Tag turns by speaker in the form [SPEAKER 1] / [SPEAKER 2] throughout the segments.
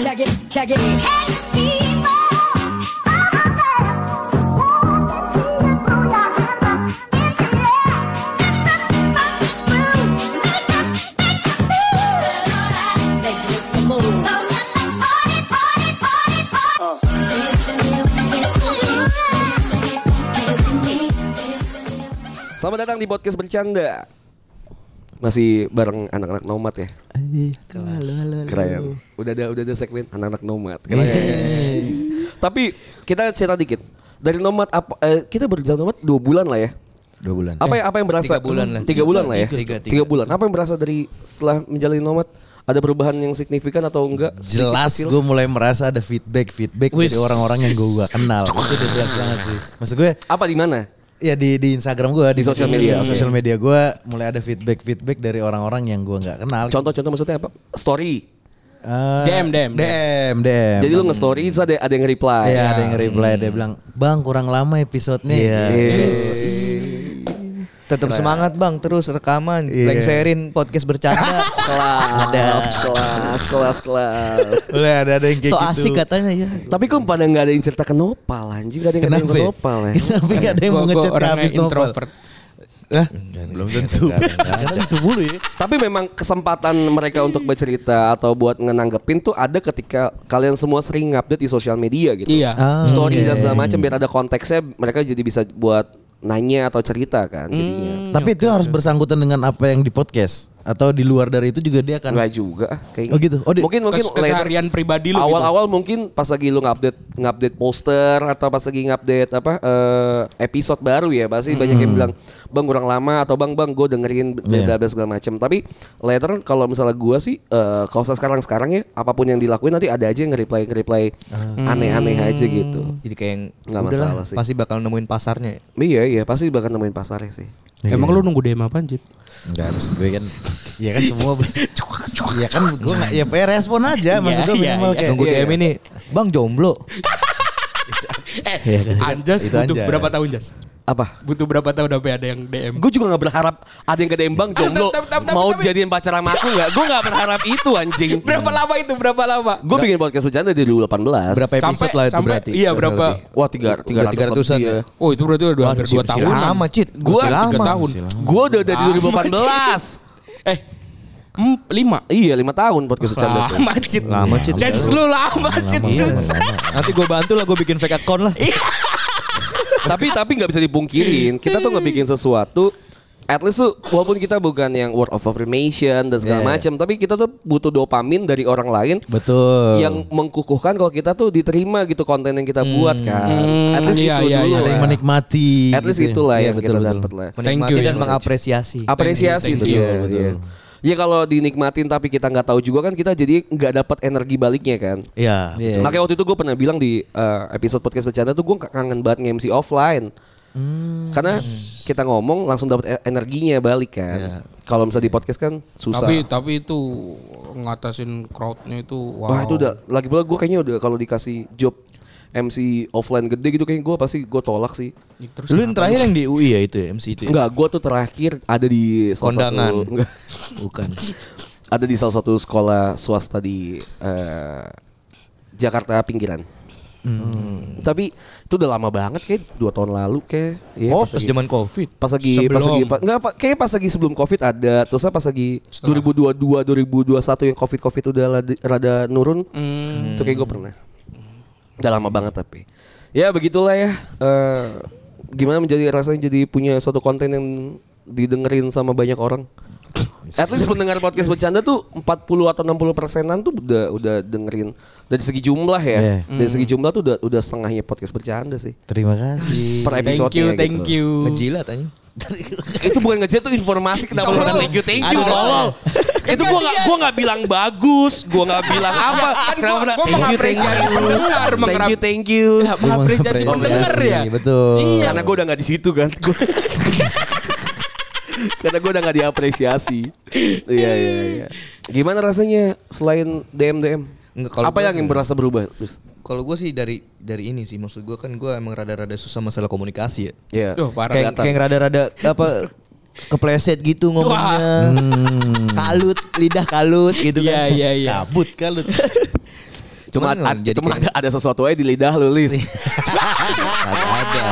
[SPEAKER 1] Shaggy. Make you look move.
[SPEAKER 2] Selamat datang di podcast bercanda. Masih bareng anak-anak nomad ya.
[SPEAKER 3] Halo, halo, halo.
[SPEAKER 2] Keren. Udah ada udah ada segmen anak-anak nomad. Keren. Tapi kita cerita dikit. Dari nomad apa eh, kita berjalan nomad dua bulan lah ya.
[SPEAKER 4] Dua bulan.
[SPEAKER 2] Apa yang apa yang berasa?
[SPEAKER 4] Eh, tiga bulan lah.
[SPEAKER 2] Tiga bulan lah ya.
[SPEAKER 4] Tiga, tiga.
[SPEAKER 2] bulan. Apa yang berasa dari setelah menjalani nomad? Ada perubahan yang signifikan atau enggak? Sedikit
[SPEAKER 4] Jelas
[SPEAKER 2] kecil?
[SPEAKER 4] gue mulai merasa ada feedback feedback
[SPEAKER 3] Wis.
[SPEAKER 4] dari orang-orang yang gue kenal. Itu udah jelas banget sih. Maksud gue
[SPEAKER 2] Apa di mana?
[SPEAKER 4] ya di di Instagram gue
[SPEAKER 2] Di sosial media.
[SPEAKER 4] sosial media gue mulai ada feedback feedback dari orang-orang yang gue nggak kenal.
[SPEAKER 2] Contoh-contoh maksudnya apa? Story.
[SPEAKER 4] Eh,
[SPEAKER 3] DM, DM.
[SPEAKER 4] DM DM.
[SPEAKER 2] Jadi ya. lu nge-story terus ada ada yang nge-reply.
[SPEAKER 4] Iya ada yang reply dia bilang bang kurang lama episodenya. Iya.
[SPEAKER 5] Tetap semangat bang, terus rekaman,
[SPEAKER 2] Iya.
[SPEAKER 5] lengserin podcast bercanda.
[SPEAKER 2] Kelas, kelas, kelas, kelas.
[SPEAKER 4] Mulai ada ada yang kayak
[SPEAKER 5] so
[SPEAKER 4] gitu.
[SPEAKER 5] asik katanya ya.
[SPEAKER 2] Tapi kok pada nggak ada yang cerita ke Nopal anjing Gak ada yang
[SPEAKER 4] Kenapa?
[SPEAKER 2] cerita ke Nopal ya
[SPEAKER 4] Kenapa gak ada yang
[SPEAKER 3] Gua-
[SPEAKER 4] mau
[SPEAKER 3] gua
[SPEAKER 4] ngechat ke
[SPEAKER 3] orangnya
[SPEAKER 4] habis nopal?
[SPEAKER 3] introvert.
[SPEAKER 4] Hah? Belum tentu. Belum tentu mulu ya.
[SPEAKER 2] Tapi memang kesempatan mereka untuk bercerita Atau buat ngenanggepin tuh ada ketika Kalian semua sering update di sosial media gitu
[SPEAKER 3] Iya.
[SPEAKER 4] Ah,
[SPEAKER 2] Story dan segala macam Biar ada konteksnya Mereka jadi bisa buat nanya atau cerita kan jadinya
[SPEAKER 4] Tapi itu harus bersangkutan dengan apa yang di podcast atau di luar dari itu juga dia akan
[SPEAKER 2] Enggak juga kayaknya.
[SPEAKER 4] Hmm. Oh gitu. Oh, di-
[SPEAKER 2] mungkin mungkin
[SPEAKER 3] Kes- keseharian pribadi lu gitu.
[SPEAKER 2] Awal-awal mungkin pas lagi lu ngupdate ngupdate poster atau pas lagi ngupdate apa eh, episode baru ya pasti banyak
[SPEAKER 5] Hmm.
[SPEAKER 2] yang bilang bang kurang lama atau bang bang gue dengerin
[SPEAKER 5] Iya.
[SPEAKER 2] bla bla segala macam. Tapi later kalau misalnya gua sih eh, kalau usah sekarang-sekarang ya apapun yang dilakuin nanti ada aja yang nge-reply nge-reply
[SPEAKER 5] Hmm.
[SPEAKER 2] aneh-aneh aja gitu.
[SPEAKER 5] Jadi kayak yang
[SPEAKER 2] Nggak
[SPEAKER 5] udahlah,
[SPEAKER 2] masalah sih.
[SPEAKER 5] pasti bakal nemuin pasarnya.
[SPEAKER 2] Iya iya pasti bakal nemuin pasarnya sih.
[SPEAKER 3] gitu. Emang lu nunggu DM apaan, Jit?
[SPEAKER 4] Enggak maksud gue kan ya kan semua ya kan gue nggak ya PR respon aja maksud gue
[SPEAKER 3] Iya,
[SPEAKER 4] minimal
[SPEAKER 3] iya,
[SPEAKER 4] kayak
[SPEAKER 5] Tunggu
[SPEAKER 2] Iya,
[SPEAKER 5] DM ini, bang jomblo.
[SPEAKER 3] Eh, Anjas
[SPEAKER 4] Itu
[SPEAKER 3] butuh
[SPEAKER 4] Anjas.
[SPEAKER 3] berapa tahun, Jas?
[SPEAKER 2] Apa?
[SPEAKER 3] Butuh berapa tahun sampai ada yang DM?
[SPEAKER 2] Gue juga gak berharap ada yang gede bang jomblo
[SPEAKER 3] tapi- tapi- tapi-
[SPEAKER 2] mau
[SPEAKER 3] tapi-
[SPEAKER 2] jadian pacar sama aku gak? Gue gak berharap itu anjing.
[SPEAKER 3] Berapa lama itu? Berapa lama?
[SPEAKER 2] Gue bikin podcast bercanda di 2018.
[SPEAKER 5] Berapa episode lah itu berarti?
[SPEAKER 3] Iya,
[SPEAKER 5] Kurang
[SPEAKER 3] berapa?
[SPEAKER 5] lebih.
[SPEAKER 2] Wah tiga Iya, tiga
[SPEAKER 5] Udah 300-an
[SPEAKER 2] lebih
[SPEAKER 5] ya.
[SPEAKER 3] Oh, itu berarti udah hampir 2 tahun.
[SPEAKER 5] lama, Cit.
[SPEAKER 3] Gua
[SPEAKER 5] Masih
[SPEAKER 3] 3
[SPEAKER 5] lama.
[SPEAKER 3] tahun.
[SPEAKER 2] Gue udah
[SPEAKER 3] Ah.
[SPEAKER 2] dari 2018.
[SPEAKER 3] Eh, 5.
[SPEAKER 2] iya lima tahun podcast bercanda. tuh.
[SPEAKER 3] Lama, Cit.
[SPEAKER 5] Lama, Cit.
[SPEAKER 3] Judge lu lama, Cit. Susah.
[SPEAKER 2] iya.
[SPEAKER 5] Nanti gue bantu lah, gue bikin fake account lah.
[SPEAKER 2] tapi tapi nggak bisa dipungkirin kita tuh ngebikin sesuatu at least tuh walaupun kita bukan yang word of affirmation dan
[SPEAKER 3] Iya.
[SPEAKER 2] segala
[SPEAKER 4] Yeah.
[SPEAKER 2] macam tapi kita tuh butuh dopamin dari orang lain
[SPEAKER 4] betul
[SPEAKER 2] yang mengkukuhkan kalau kita tuh diterima gitu konten yang kita buat kan. At least
[SPEAKER 3] Hmm. Iya,
[SPEAKER 2] itu
[SPEAKER 3] iya,
[SPEAKER 2] dulu.
[SPEAKER 3] iya.
[SPEAKER 4] ada yang
[SPEAKER 2] lah.
[SPEAKER 4] menikmati
[SPEAKER 2] At least
[SPEAKER 3] ya.
[SPEAKER 4] gitu.
[SPEAKER 2] itulah
[SPEAKER 4] Iya,
[SPEAKER 2] yang
[SPEAKER 4] betul
[SPEAKER 2] kita
[SPEAKER 4] betul
[SPEAKER 2] dapat lah.
[SPEAKER 3] Thank
[SPEAKER 5] Menikmati
[SPEAKER 3] you,
[SPEAKER 5] dan
[SPEAKER 3] ya.
[SPEAKER 5] mengapresiasi.
[SPEAKER 2] apresiasi
[SPEAKER 3] Thank
[SPEAKER 2] sih
[SPEAKER 3] you,
[SPEAKER 2] ya,
[SPEAKER 4] betul.
[SPEAKER 2] iya. Ya kalau dinikmatin tapi kita nggak tahu juga kan kita jadi nggak dapat energi baliknya kan.
[SPEAKER 4] Iya. betul.
[SPEAKER 2] Makanya waktu itu gue pernah bilang di uh, episode podcast bercanda tuh gue kangen banget nge-MC offline. Karena kita ngomong langsung dapat e- energinya balik kan. Kalau misalnya di podcast kan susah.
[SPEAKER 3] Tapi tapi itu ngatasin crowdnya itu wow.
[SPEAKER 2] Wah itu udah lagi pula gue kayaknya udah kalau dikasih job MC offline gede gitu kayaknya gue pasti gue tolak sih.
[SPEAKER 3] Ya, Terus
[SPEAKER 4] Lu yang terakhir yang di UI ya itu ya MC itu ya?
[SPEAKER 2] Enggak, gue tuh terakhir ada di salah
[SPEAKER 5] Iya. Kondangan.
[SPEAKER 2] Satu, enggak.
[SPEAKER 4] Bukan.
[SPEAKER 2] ada di salah satu sekolah swasta di eh, Jakarta pinggiran.
[SPEAKER 5] Hmm.
[SPEAKER 2] Tapi itu udah lama banget kayak dua tahun lalu kayak. Iya,
[SPEAKER 5] Oh,
[SPEAKER 2] pas
[SPEAKER 5] pas
[SPEAKER 2] lagi-
[SPEAKER 5] zaman covid.
[SPEAKER 2] pas lagi pas
[SPEAKER 3] Sebelum.
[SPEAKER 2] lagi pa- nggak pa- kayak pas lagi sebelum covid ada terus pas lagi 2022 2021 yang covid covid udah ladi- rada nurun
[SPEAKER 3] Hmm.
[SPEAKER 2] itu kayak gue pernah udah lama banget tapi ya begitulah ya Eh, gimana menjadi rasanya jadi punya suatu konten yang didengerin sama banyak orang At least pendengar podcast bercanda tuh 40 atau 60 persenan tuh udah udah dengerin dari segi jumlah ya.
[SPEAKER 4] Yeah.
[SPEAKER 2] Dari
[SPEAKER 3] Hmm.
[SPEAKER 2] segi jumlah tuh udah udah setengahnya podcast bercanda sih.
[SPEAKER 4] Terima kasih.
[SPEAKER 2] Per gitu. episode
[SPEAKER 3] Thank you, thank you.
[SPEAKER 5] Ngejilat aja.
[SPEAKER 2] itu bukan ngejat tuh informasi kenapa lu bilang thank you thank you
[SPEAKER 3] Aduh, tolol.
[SPEAKER 2] itu gua nggak gua nggak bilang bagus gua nggak bilang apa
[SPEAKER 3] Kan gua-
[SPEAKER 2] kenapa
[SPEAKER 3] gua
[SPEAKER 2] bilang,
[SPEAKER 3] mengapresiasi pendengar,
[SPEAKER 2] thank you
[SPEAKER 3] mengerap-
[SPEAKER 2] thank you
[SPEAKER 3] Ya, mengapresiasi
[SPEAKER 2] Oh,
[SPEAKER 4] Terima
[SPEAKER 3] pendengar
[SPEAKER 4] kasih,
[SPEAKER 3] ya.
[SPEAKER 4] Betul.
[SPEAKER 3] Iya.
[SPEAKER 2] karena gua udah nggak di situ kan Gua- karena gua udah nggak diapresiasi iya iya iya gimana rasanya selain dm dm
[SPEAKER 5] Nggak, kalau
[SPEAKER 2] apa
[SPEAKER 5] gua-
[SPEAKER 2] yang berasa berubah terus
[SPEAKER 5] Kalau gue sih dari dari ini sih, maksud gue kan gue emang rada-rada susah masalah komunikasi ya.
[SPEAKER 2] ya
[SPEAKER 3] Duh, parah.
[SPEAKER 5] Kayak kayak rada-rada apa kepleset gitu ngomongnya. Kalut, lidah kalut gitu
[SPEAKER 3] Iya,
[SPEAKER 5] kan.
[SPEAKER 3] iya, iya.
[SPEAKER 4] Kabut kalut.
[SPEAKER 2] Cuma
[SPEAKER 5] Cuman
[SPEAKER 2] ad-
[SPEAKER 5] jadi
[SPEAKER 2] cuma
[SPEAKER 5] kayak-
[SPEAKER 2] ada, ada sesuatu aja di lidah lu, Lis.
[SPEAKER 5] Kagak ada.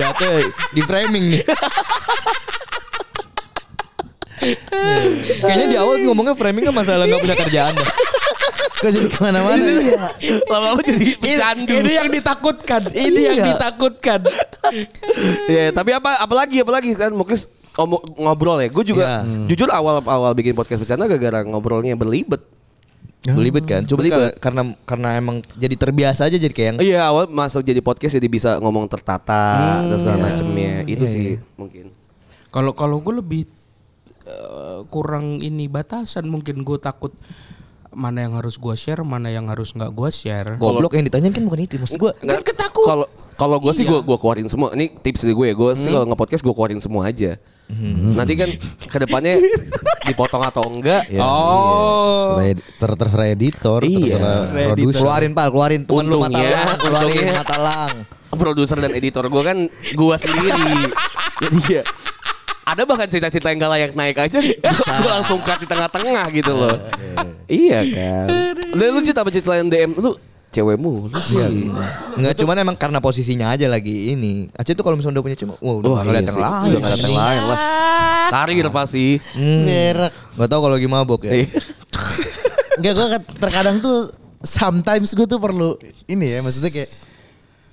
[SPEAKER 5] Jatuh di framing nih. Kayaknya di awal ngomongnya framingnya masalah nggak punya kerjaan. dah.
[SPEAKER 4] Kok jadi kemana-mana?
[SPEAKER 5] Iya.
[SPEAKER 2] Lama-lama jadi
[SPEAKER 3] Ini,
[SPEAKER 2] pecandu.
[SPEAKER 3] ini yang ditakutkan. Ini yang ditakutkan.
[SPEAKER 2] Ya, tapi apa apalagi apalagi kan mungkin s- om- ngobrol ya. Gue juga jujur awal-awal bikin podcast bercanda gara-gara ngobrolnya berlibet.
[SPEAKER 5] Belibet kan? Cuma
[SPEAKER 2] Belibet.
[SPEAKER 5] ka- karena karena emang jadi terbiasa aja jadi kayak yang
[SPEAKER 2] Iya, awal masuk jadi podcast jadi bisa ngomong tertata dan segala macemnya. Itu sih Iya. mungkin.
[SPEAKER 3] Kalau kalau gue lebih eh, kurang ini batasan mungkin gue takut mana yang harus gue share, mana yang harus nggak gue share.
[SPEAKER 5] goblok yang ditanyain kan bukan itu maksud gua.
[SPEAKER 2] Nggak,
[SPEAKER 3] ketakut.
[SPEAKER 2] Kalau kalau gue sih gue gua keluarin semua. Ini tips dari gue ya. Gue sih kalau nge-podcast gue keluarin semua aja. Nanti kan kedepannya dipotong atau enggak ya.
[SPEAKER 3] Oh,
[SPEAKER 5] Iya,
[SPEAKER 4] Terserah, terserah editor,
[SPEAKER 2] Iya,
[SPEAKER 4] terserah
[SPEAKER 2] terserah
[SPEAKER 4] produser. ya.
[SPEAKER 5] Keluarin pal, keluarin teman lu mata
[SPEAKER 2] Untungnya-
[SPEAKER 5] lang, keluarin
[SPEAKER 2] untungnya-
[SPEAKER 5] mata lang.
[SPEAKER 2] Produser dan editor gue kan gue sendiri. Jadi ya ada bahkan cerita-cerita yang gak layak naik aja gue langsung cut di tengah-tengah gitu loh. iya kan. Lu, lu cerita apa cerita yang DM lu cewekmu lu sih. ya.
[SPEAKER 5] Enggak, cuman emang karena posisinya aja lagi ini. Aceh tuh kalau misalnya udah punya cuma, wah udah
[SPEAKER 2] Wah,
[SPEAKER 5] nggak
[SPEAKER 2] iya
[SPEAKER 5] ngeliat yang
[SPEAKER 2] sih.
[SPEAKER 5] lain.
[SPEAKER 2] Udah nggak liat yang lain lah. Karir pasti.
[SPEAKER 5] Hmm. Gak tau kalau lagi mabok ya.
[SPEAKER 2] Iya.
[SPEAKER 4] Enggak gue terkadang tuh sometimes gue tuh perlu ini ya maksudnya kayak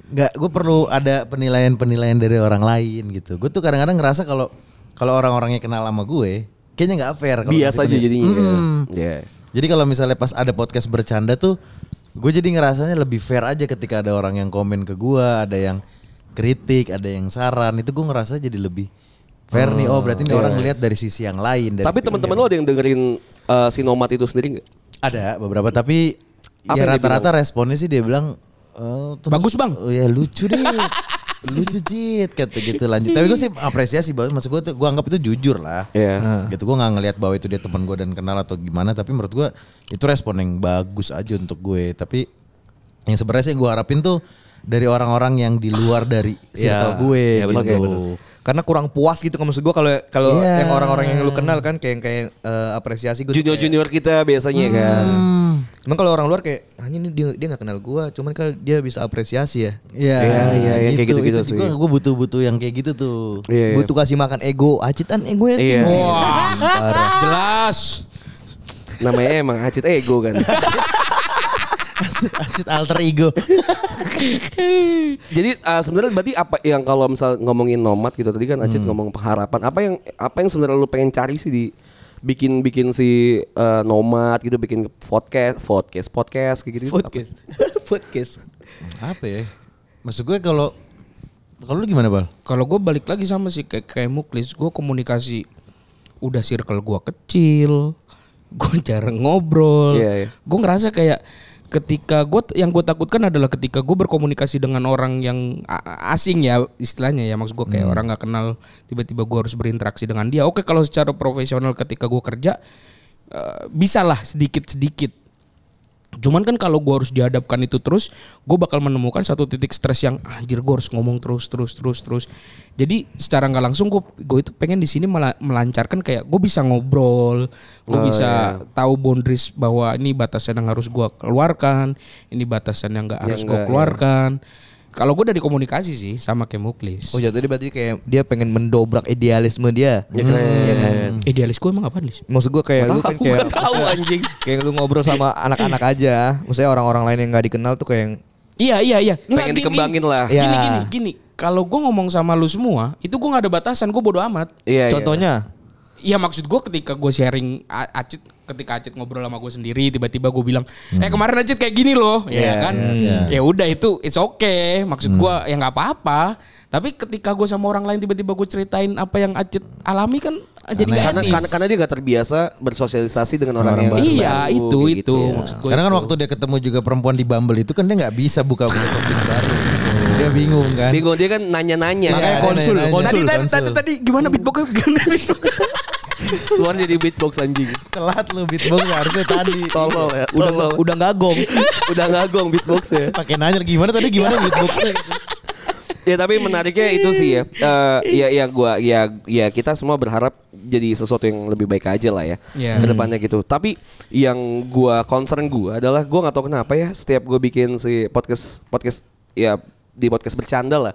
[SPEAKER 4] nggak gue perlu ada penilaian-penilaian dari orang lain gitu. Gue tuh kadang-kadang ngerasa kalau kalau orang-orangnya kenal sama gue kayaknya nggak fair. kalau
[SPEAKER 2] Bias
[SPEAKER 4] kasih
[SPEAKER 2] aja
[SPEAKER 4] penilaian.
[SPEAKER 2] jadinya.
[SPEAKER 4] Mm-mm.
[SPEAKER 2] Iya.
[SPEAKER 4] Jadi kalau misalnya pas ada podcast bercanda tuh gue jadi ngerasanya lebih fair aja ketika ada orang yang komen ke gue, ada yang kritik, ada yang saran. Itu gue ngerasa jadi lebih fair nih. Oh berarti ini orang lihat dari sisi yang lain. Dari
[SPEAKER 2] iya. Tapi teman-teman lu ada yang dengerin eh, si Nomad itu sendiri nggak?
[SPEAKER 4] ada beberapa tapi
[SPEAKER 2] Apa
[SPEAKER 4] ya
[SPEAKER 2] yang dia
[SPEAKER 4] rata-rata responnya sih dia bilang "Oh, terus-
[SPEAKER 3] Bagus, Bang."
[SPEAKER 4] Oh, ya lucu deh. lucu cit kata gitu lanjut tapi gue sih apresiasi banget maksud gue tuh gue anggap itu jujur lah
[SPEAKER 2] Iya.
[SPEAKER 4] gitu gue nggak ngelihat bahwa itu dia teman gue dan kenal atau gimana tapi menurut gue itu respon yang bagus aja untuk gue tapi yang sebenarnya sih yang gue harapin tuh dari orang-orang yang di luar dari
[SPEAKER 2] Iya.
[SPEAKER 4] circle gue
[SPEAKER 5] ya betul,
[SPEAKER 4] gitu.
[SPEAKER 5] betul. Karena kurang puas gitu kan maksud gua kalau kalau
[SPEAKER 4] Iya.
[SPEAKER 5] yang orang-orang yang lu kenal kan kayak kayak eh, apresiasi gua. tuh kayak-
[SPEAKER 2] Junior-junior kita biasanya kan.
[SPEAKER 5] Emang kalau orang luar kayak hanya ini dia dia nggak kenal gua, cuman kan dia bisa apresiasi ya.
[SPEAKER 4] Iya,
[SPEAKER 2] Iya, iya, iya, kayak gitu-gitu sih.
[SPEAKER 4] Gue butuh-butuh yang kayak gitu tuh.
[SPEAKER 2] Iya, iya.
[SPEAKER 5] Butuh kasih makan ego, acitan ego ya.
[SPEAKER 2] Iya.
[SPEAKER 5] tinggi.
[SPEAKER 3] wah, jelas.
[SPEAKER 2] Namanya emang acit ego kan.
[SPEAKER 4] Acit alter ego.
[SPEAKER 2] Jadi eh, sebenarnya berarti apa yang kalau misal ngomongin nomad gitu tadi kan Acit ngomong pengharapan apa yang apa yang sebenarnya lu pengen cari sih di bikin bikin si eh, nomad gitu bikin podcast podcast podcast kayak gitu,
[SPEAKER 5] Podcast. Podcast.
[SPEAKER 4] apa ya? Maksud gue kalau kalau lu gimana bal?
[SPEAKER 3] Kalau gue balik lagi sama sih kayak kayak muklis, gue komunikasi udah circle gue kecil, gue jarang ngobrol.
[SPEAKER 2] Iya, iya.
[SPEAKER 3] Gue ngerasa kayak ketika gue yang gue takutkan adalah ketika gue berkomunikasi dengan orang yang a- asing ya istilahnya ya maksud gue
[SPEAKER 2] Hmm.
[SPEAKER 3] kayak orang nggak kenal tiba-tiba gue harus berinteraksi dengan dia. Oke kalau secara profesional ketika gue kerja eh, bisalah sedikit sedikit Cuman kan kalau gue harus dihadapkan itu terus, gue bakal menemukan satu titik stres yang anjir gue harus ngomong terus terus terus terus. Jadi secara nggak langsung gue gue itu pengen di sini mela- melancarkan kayak gue bisa ngobrol, gue
[SPEAKER 2] Oh, iya.
[SPEAKER 3] bisa tahu boundaries bahwa ini batasan yang harus gue keluarkan, ini batasan yang nggak harus gue
[SPEAKER 2] nggak, ya.
[SPEAKER 3] keluarkan. Kalau gue dari komunikasi sih sama kayak
[SPEAKER 2] iya.
[SPEAKER 3] Muklis.
[SPEAKER 5] Oh jatuh dia berarti kayak dia pengen mendobrak idealisme dia.
[SPEAKER 2] Ya keren.
[SPEAKER 5] Iya kan?
[SPEAKER 3] Idealis gue emang apa nih?
[SPEAKER 5] Maksud gua kayak lu kan kayak
[SPEAKER 2] tahu anjing.
[SPEAKER 5] kayak lu ngobrol sama anak-anak aja. Maksudnya orang-orang lain yang nggak dikenal tuh kayak yang
[SPEAKER 3] Iya iya iya.
[SPEAKER 2] Pengen dikembangin lah. Iya.
[SPEAKER 3] Gini
[SPEAKER 5] Ya.
[SPEAKER 3] gini gini. Kalau gue ngomong sama lu semua, itu gue nggak ada batasan, gue bodo amat.
[SPEAKER 2] Iya, iya.
[SPEAKER 5] contohnya
[SPEAKER 3] Iya maksud gue ketika gue sharing A- Acit ketika Acit ngobrol sama gue sendiri tiba-tiba gue bilang
[SPEAKER 2] Hmm.
[SPEAKER 3] eh kemarin Acit kayak gini loh ya
[SPEAKER 2] Iya,
[SPEAKER 3] kan ya udah itu it's okay
[SPEAKER 2] Hmm.
[SPEAKER 3] maksud gue ya nggak apa-apa tapi ketika gue sama orang lain tiba-tiba gue ceritain apa yang Acit alami kan jadi nggak
[SPEAKER 2] karena,
[SPEAKER 3] etis.
[SPEAKER 2] karena karena dia gak terbiasa bersosialisasi dengan orang, yang baru.
[SPEAKER 3] iya itu
[SPEAKER 2] kayak
[SPEAKER 3] itu
[SPEAKER 2] gitu ya.
[SPEAKER 3] maksud gue
[SPEAKER 4] Karena kan waktu dia ketemu juga perempuan di Bumble itu kan dia nggak bisa buka buka topik baru. Dia bingung kan?
[SPEAKER 2] Bingung dia kan nanya-nanya.
[SPEAKER 4] Makanya
[SPEAKER 2] Kan?
[SPEAKER 4] konsul,
[SPEAKER 2] Nanya-nanya.
[SPEAKER 4] konsul,
[SPEAKER 2] Tadi tadi tadi,
[SPEAKER 4] konsul.
[SPEAKER 2] tadi gimana beatbox? Gimana beatbox? Suara jadi beatbox anjing.
[SPEAKER 4] Telat lu beatbox harusnya tadi.
[SPEAKER 2] Tolol ya.
[SPEAKER 5] udah
[SPEAKER 2] tolol.
[SPEAKER 5] udah nggak gong.
[SPEAKER 2] udah ngagong beatbox ya.
[SPEAKER 4] Pakai nanya gimana tadi gimana beatboxnya?
[SPEAKER 2] Ya tapi menariknya itu sih ya. Eh, ya ya gua ya ya kita semua berharap jadi sesuatu yang lebih baik aja lah ya.
[SPEAKER 3] Iya.
[SPEAKER 2] Kedepannya gitu. Tapi yang gua concern gua adalah gua nggak tahu kenapa ya setiap gua bikin si podcast podcast ya di podcast bercanda lah.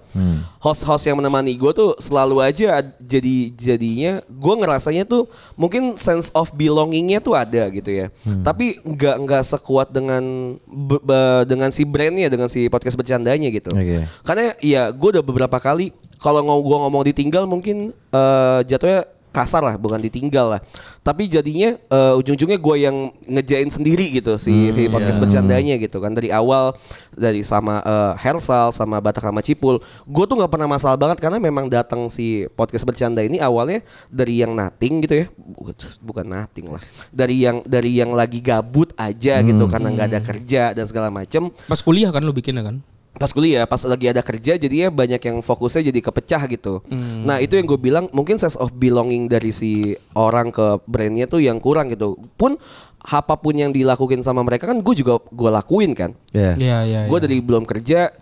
[SPEAKER 2] Host-host yang menemani gua tuh selalu aja ad- jadi jadinya gua ngerasanya tuh mungkin sense of belongingnya tuh ada gitu ya. Tapi nggak nggak sekuat dengan be- be- dengan si brandnya dengan si podcast bercandanya gitu.
[SPEAKER 4] Oke.
[SPEAKER 2] Karena ya gue udah beberapa kali kalau ngomong gue ngomong ditinggal mungkin eh, jatuhnya kasar lah bukan ditinggal lah. Tapi jadinya eh, ujung-ujungnya gue yang ngejain sendiri gitu si si podcast bercandanya gitu kan dari awal dari sama eh, Hersal sama Batak sama Cipul. Gue tuh nggak pernah masalah banget karena memang datang si podcast bercanda ini awalnya dari yang nothing gitu ya. Bukan, bukan nothing lah. Dari yang dari yang lagi gabut aja gitu karena nggak ada kerja dan segala macem
[SPEAKER 3] Pas kuliah kan lu bikinnya kan?
[SPEAKER 2] pas kuliah pas lagi ada kerja jadinya banyak yang fokusnya jadi kepecah gitu
[SPEAKER 3] Hmm.
[SPEAKER 2] nah itu yang gue bilang mungkin sense of belonging dari si orang ke brandnya tuh yang kurang gitu pun apapun yang dilakuin sama mereka kan gue juga gue lakuin kan
[SPEAKER 4] Ya.
[SPEAKER 3] Iya, iya.
[SPEAKER 2] gue dari belum kerja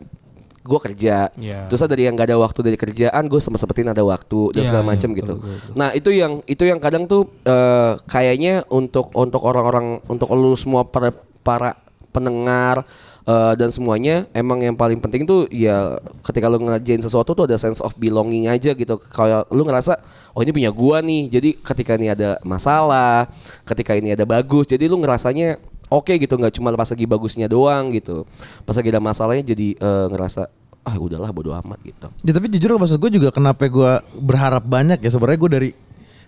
[SPEAKER 2] gue kerja
[SPEAKER 3] Iya.
[SPEAKER 2] terus dari yang gak ada waktu dari kerjaan gue sempet sempetin ada waktu dan
[SPEAKER 3] Iya,
[SPEAKER 2] segala
[SPEAKER 3] iya,
[SPEAKER 2] macem
[SPEAKER 3] betul,
[SPEAKER 2] gitu
[SPEAKER 3] betul,
[SPEAKER 2] nah itu yang itu yang kadang tuh eh, kayaknya untuk untuk orang-orang untuk lu semua para para pendengar eh, dan semuanya emang yang paling penting tuh ya ketika lu ngerjain sesuatu tuh ada sense of belonging aja gitu kayak lu ngerasa oh ini punya gua nih jadi ketika ini ada masalah ketika ini ada bagus jadi lu ngerasanya oke gitu nggak cuma pas lagi bagusnya doang gitu pas lagi ada masalahnya jadi eh, ngerasa ah udahlah bodo amat gitu
[SPEAKER 4] Ya, tapi jujur maksud gue juga kenapa gue berharap banyak ya sebenarnya gue dari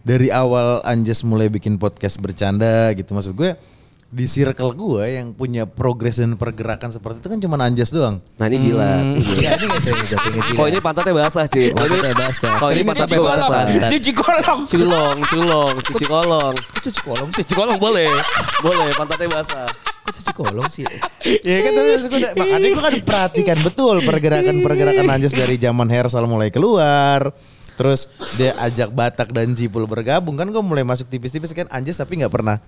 [SPEAKER 4] dari awal Anjas mulai bikin podcast bercanda gitu maksud gue di circle gue yang punya progres dan pergerakan seperti itu kan cuma Anjas doang.
[SPEAKER 2] nah ini jilat
[SPEAKER 3] Hmm. Iya,
[SPEAKER 2] kalau ini pantatnya basah cuy kalau ini
[SPEAKER 5] Pantatnya basah.
[SPEAKER 2] kalau Oh, ini
[SPEAKER 3] cuci
[SPEAKER 2] pantatnya
[SPEAKER 3] kolong,
[SPEAKER 2] basah
[SPEAKER 3] cuci kolong.
[SPEAKER 2] culong culong cuci kolong
[SPEAKER 5] cuci kolong
[SPEAKER 2] cuci kolong boleh boleh pantatnya basah
[SPEAKER 5] Kok cuci kolong sih?
[SPEAKER 4] Iya kan tapi maksud gue makanya gue kan perhatikan betul pergerakan-pergerakan Anjas dari zaman Hersal mulai keluar. Terus dia ajak Batak dan Cipul bergabung kan gue mulai masuk tipis-tipis kan Anjas tapi nggak pernah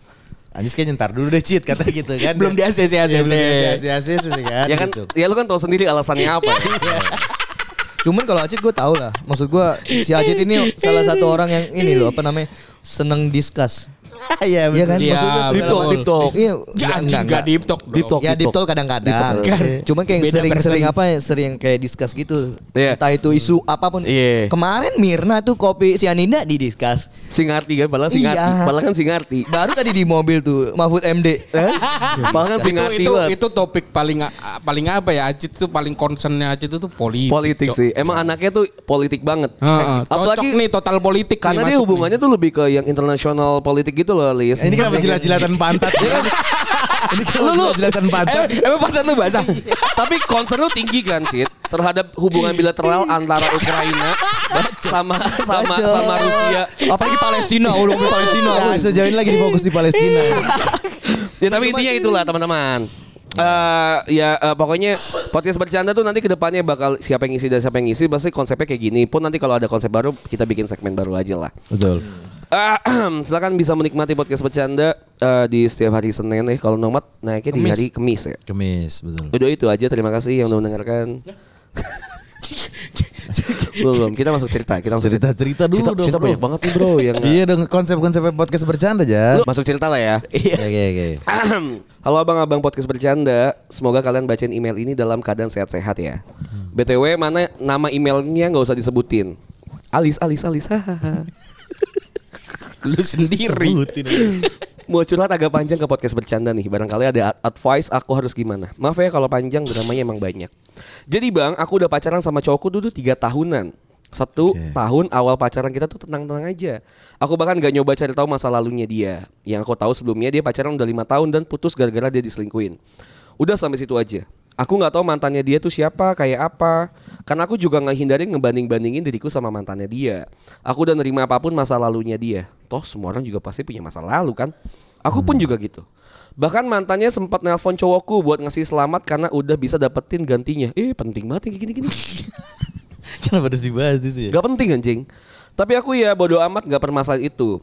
[SPEAKER 4] Anjas kayak ntar dulu deh cheat kata gitu kan
[SPEAKER 3] Belum di ACC
[SPEAKER 4] Ya, belum di
[SPEAKER 3] ACC.
[SPEAKER 4] ACC kan
[SPEAKER 2] ya kan
[SPEAKER 4] gitu.
[SPEAKER 2] ya lu kan tahu sendiri alasannya apa
[SPEAKER 3] Iya.
[SPEAKER 5] Cuman kalau Acit gue tau lah. Maksud gue si Acit ini salah satu orang yang ini loh apa namanya seneng discuss.
[SPEAKER 4] Iya
[SPEAKER 5] Iya kan?
[SPEAKER 4] betul.
[SPEAKER 3] Iya,
[SPEAKER 5] Maksudnya
[SPEAKER 2] deep talk
[SPEAKER 3] betul.
[SPEAKER 2] deep talk
[SPEAKER 5] Iya,
[SPEAKER 3] Ya
[SPEAKER 5] enggak,
[SPEAKER 3] anjing
[SPEAKER 5] enggak,
[SPEAKER 3] enggak
[SPEAKER 5] enggak.
[SPEAKER 3] deep talk
[SPEAKER 2] Deep
[SPEAKER 3] dong.
[SPEAKER 2] talk.
[SPEAKER 5] Ya deep talk
[SPEAKER 2] Deep
[SPEAKER 5] kadang-kadang.
[SPEAKER 2] talk.
[SPEAKER 5] Iya. Cuman kayak yang
[SPEAKER 3] Beda
[SPEAKER 5] sering-sering
[SPEAKER 3] person.
[SPEAKER 5] apa ya, sering kayak discuss gitu.
[SPEAKER 2] Iya.
[SPEAKER 5] Entah itu isu apapun.
[SPEAKER 2] Iya.
[SPEAKER 5] Kemarin Mirna tuh kopi si Aninda di discuss.
[SPEAKER 2] singarti kan malah singarti
[SPEAKER 5] Iya.
[SPEAKER 2] malah kan singarti
[SPEAKER 5] Baru tadi di mobil tuh Mahfud MD.
[SPEAKER 2] malah kan
[SPEAKER 3] Itu
[SPEAKER 2] singarti
[SPEAKER 3] itu
[SPEAKER 2] banget.
[SPEAKER 3] itu topik paling a- paling apa ya? Acit itu paling concernnya Acit itu politik.
[SPEAKER 2] politik
[SPEAKER 3] Cok.
[SPEAKER 2] sih emang anaknya tuh politik banget
[SPEAKER 3] Heeh, cocok
[SPEAKER 2] apalagi
[SPEAKER 3] nih total politik nih Iya,
[SPEAKER 2] Karena dia
[SPEAKER 3] masuk
[SPEAKER 2] hubungannya tuh lebih ke yang internasional politik gitu loh, Lis.
[SPEAKER 4] Ini kenapa jilat-jilatan pantat? Eh. ya kan? Ini kenapa jilat-jilatan
[SPEAKER 3] nih.
[SPEAKER 4] pantat?
[SPEAKER 3] Em- Emang pantat lu basah.
[SPEAKER 2] Iya, Tapi concern lu tinggi kan, Cid? Terhadap hubungan bilateral antara Ukraina sama sama
[SPEAKER 5] Bacot.
[SPEAKER 2] sama Rusia.
[SPEAKER 5] Apalagi Palestina, ulung Palestina. Iya.
[SPEAKER 4] Nah, sejauh ini lagi difokus di Palestina.
[SPEAKER 2] Ya tapi intinya itulah teman-teman. Eh ya eh, pokoknya podcast bercanda tuh nanti kedepannya bakal siapa yang ngisi dan siapa yang ngisi pasti konsepnya kayak gini pun nanti kalau ada konsep baru kita bikin segmen baru aja lah.
[SPEAKER 4] Betul.
[SPEAKER 2] Ahem, silakan bisa menikmati podcast bercanda eh, di setiap hari Senin nih kalau nomad naiknya di hari Kemis ya.
[SPEAKER 4] Kemis, betul.
[SPEAKER 2] Udah itu aja terima kasih yang udah mendengarkan. belum, belum. kita masuk cerita, kita masuk cerita.
[SPEAKER 4] Cerita-cerita dulu
[SPEAKER 2] cerita,
[SPEAKER 4] dong,
[SPEAKER 2] cerita
[SPEAKER 4] bro.
[SPEAKER 2] banyak banget nih bro yang
[SPEAKER 4] Iya dong konsep-konsep podcast bercanda ya.
[SPEAKER 2] Lu masuk cerita lah ya.
[SPEAKER 4] Oke oke.
[SPEAKER 2] Ahem. Halo abang-abang podcast bercanda, semoga kalian bacain email ini dalam keadaan sehat-sehat ya.
[SPEAKER 4] Hmm.
[SPEAKER 2] BTW mana nama emailnya nggak usah disebutin. Alis, alis, alis, hahaha.
[SPEAKER 3] Lu sendiri.
[SPEAKER 2] Mau curhat agak panjang ke podcast bercanda nih Barangkali ada ad- advice aku harus gimana Maaf ya kalau panjang dramanya emang banyak Jadi bang aku udah pacaran sama cowokku dulu 3 tahunan Satu
[SPEAKER 4] Oke.
[SPEAKER 2] tahun awal pacaran kita tuh tenang-tenang aja Aku bahkan gak nyoba cari tahu masa lalunya dia Yang aku tahu sebelumnya dia pacaran udah lima tahun Dan putus gara-gara dia diselingkuin Udah sampai situ aja Aku nggak tahu mantannya dia tuh siapa, kayak apa. Karena aku juga nggak hindarin ngebanding-bandingin diriku sama mantannya dia. Aku udah nerima apapun masa lalunya dia. Toh semua orang juga pasti punya masa lalu kan. Aku pun juga gitu. Bahkan mantannya sempat nelpon cowokku buat ngasih selamat karena udah bisa dapetin gantinya. Eh penting banget yang kayak gini-gini.
[SPEAKER 4] Kenapa harus dibahas itu ya?
[SPEAKER 2] Gak penting anjing. Tapi aku ya bodo amat gak permasalahan itu.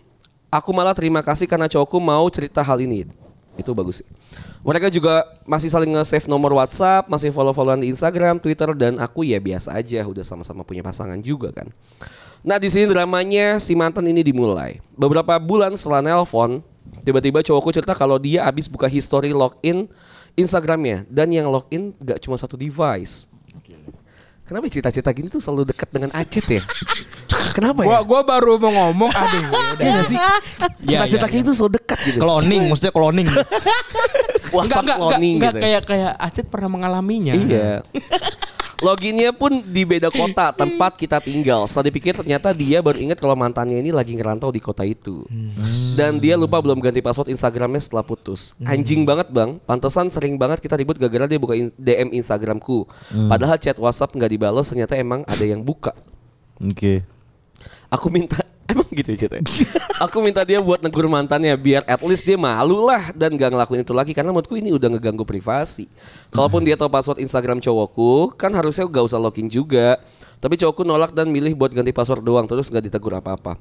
[SPEAKER 2] Aku malah terima kasih karena cowokku mau cerita hal ini. Itu bagus sih. Mereka juga masih saling nge-save nomor WhatsApp, masih follow-followan di Instagram, Twitter dan aku ya biasa aja udah sama-sama punya pasangan juga kan. Nah, di sini dramanya si mantan ini dimulai. Beberapa bulan setelah nelpon, tiba-tiba cowokku cerita kalau dia habis buka history login Instagramnya dan yang login gak cuma satu device. Kenapa cita-cita gini tuh selalu dekat dengan Acit ya? Kenapa ya?
[SPEAKER 3] Gua gua baru mau ngomong aduh ya udah.
[SPEAKER 2] Iya gak sih?
[SPEAKER 3] Iya,
[SPEAKER 2] Cita-cita
[SPEAKER 3] iya,
[SPEAKER 2] kayak itu selalu dekat gitu.
[SPEAKER 5] Cloning, maksudnya cloning.
[SPEAKER 4] Iya.
[SPEAKER 3] Enggak
[SPEAKER 2] WhatsApp
[SPEAKER 3] enggak
[SPEAKER 2] cloning
[SPEAKER 3] enggak
[SPEAKER 2] gitu.
[SPEAKER 3] kayak kayak Acit pernah mengalaminya.
[SPEAKER 2] Iya. Loginnya pun di beda kota tempat kita tinggal. Setelah dipikir ternyata dia baru ingat kalau mantannya ini lagi ngerantau di kota itu. Dan dia lupa belum ganti password Instagramnya setelah putus. Anjing banget bang. Pantesan sering banget kita ribut gara-gara dia buka in- DM Instagramku. Padahal chat WhatsApp nggak dibalas ternyata emang ada yang buka.
[SPEAKER 4] Oke.
[SPEAKER 2] Aku minta Emang gitu ya ceritanya? Aku minta dia buat negur mantannya biar at least dia malu lah dan gak ngelakuin itu lagi karena menurutku ini udah ngeganggu privasi. Kalaupun dia tahu password Instagram cowokku, kan harusnya gak usah login juga. Tapi cowokku nolak dan milih buat ganti password doang terus gak ditegur apa-apa.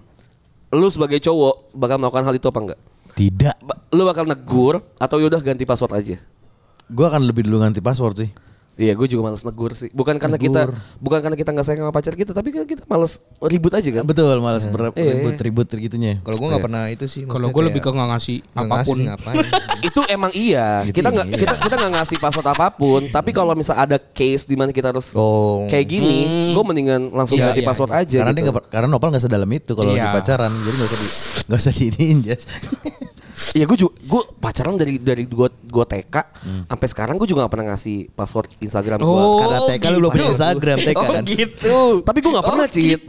[SPEAKER 2] Lu sebagai cowok bakal melakukan hal itu apa enggak?
[SPEAKER 4] Tidak.
[SPEAKER 2] Ba- Lu bakal negur atau yaudah ganti password aja?
[SPEAKER 4] Gue akan lebih dulu ganti password sih.
[SPEAKER 2] Iya, gue juga males negur sih. Bukan karena kita, bukan karena kita nggak sayang sama pacar kita, tapi kan kita males ribut aja kan.
[SPEAKER 4] Ya, Betul, malas
[SPEAKER 2] Iya,
[SPEAKER 4] ber-
[SPEAKER 2] iya.
[SPEAKER 4] ribut-ribut gitunya.
[SPEAKER 5] Kalau gue nggak pernah itu sih.
[SPEAKER 3] Kalau
[SPEAKER 5] maksudnya
[SPEAKER 3] gue lebih ke
[SPEAKER 5] kayak
[SPEAKER 3] nggak ngasih
[SPEAKER 5] nggak
[SPEAKER 3] apapun.
[SPEAKER 5] ngasih, ngapain.
[SPEAKER 2] itu emang iya.
[SPEAKER 4] Gitu
[SPEAKER 2] kita nggak
[SPEAKER 4] iya.
[SPEAKER 2] kita kita nggak ngasih password apapun. Tapi kalau misal ada case di mana kita harus
[SPEAKER 5] Oh.
[SPEAKER 2] kayak
[SPEAKER 3] Hmm.
[SPEAKER 2] gini, gue mendingan langsung
[SPEAKER 3] Iya,
[SPEAKER 2] ganti
[SPEAKER 3] iya,
[SPEAKER 2] password aja.
[SPEAKER 4] karena
[SPEAKER 2] gitu.
[SPEAKER 4] dia nggak per- karena Nopal nggak sedalam itu kalau
[SPEAKER 3] Iya.
[SPEAKER 4] lagi pacaran, jadi nggak usah di nggak usah diinin Jas.
[SPEAKER 2] Iya gue juga gue pacaran dari dari gua gua TK
[SPEAKER 4] Hmm.
[SPEAKER 2] sampai sekarang gue juga gak pernah ngasih password Instagram gua.
[SPEAKER 3] Oh,
[SPEAKER 5] Karena TK lu belum punya
[SPEAKER 3] gitu.
[SPEAKER 5] Instagram, TK
[SPEAKER 3] Oh
[SPEAKER 5] kan?
[SPEAKER 3] gitu.
[SPEAKER 2] Tapi gue gak pernah
[SPEAKER 3] Oh,
[SPEAKER 2] cheat.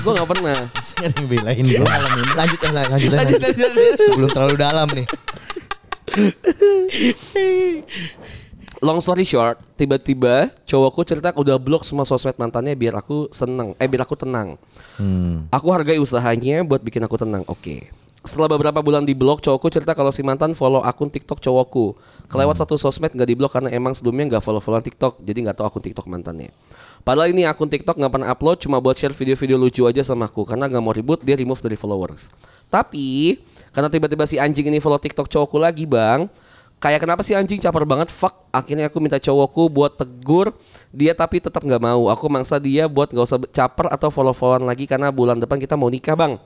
[SPEAKER 2] gue gak pernah.
[SPEAKER 4] Masih ada yang belain gue.
[SPEAKER 5] lanjut eh, lanjut, lanjut,
[SPEAKER 3] Lanjut,
[SPEAKER 5] lanjut.
[SPEAKER 3] lanjut, lanjut.
[SPEAKER 5] Sebelum terlalu dalam nih.
[SPEAKER 2] Long story short, tiba-tiba cowokku cerita udah blok semua sosmed mantannya biar aku seneng, eh biar aku tenang. Aku hargai usahanya buat bikin aku tenang. Oke. Setelah beberapa bulan di blok, cowokku cerita kalau si mantan follow akun TikTok cowokku. Kelewat satu sosmed nggak di blok karena emang sebelumnya nggak follow followan TikTok, jadi nggak tahu akun TikTok mantannya. Padahal ini akun TikTok nggak pernah upload, cuma buat share video-video lucu aja sama aku karena nggak mau ribut dia remove dari followers. Tapi karena tiba-tiba si anjing ini follow TikTok cowokku lagi bang, Kayak kenapa sih anjing caper banget fuck akhirnya aku minta cowokku buat tegur dia tapi tetap nggak mau aku mangsa dia buat nggak usah caper atau follow followan lagi karena bulan depan kita mau nikah bang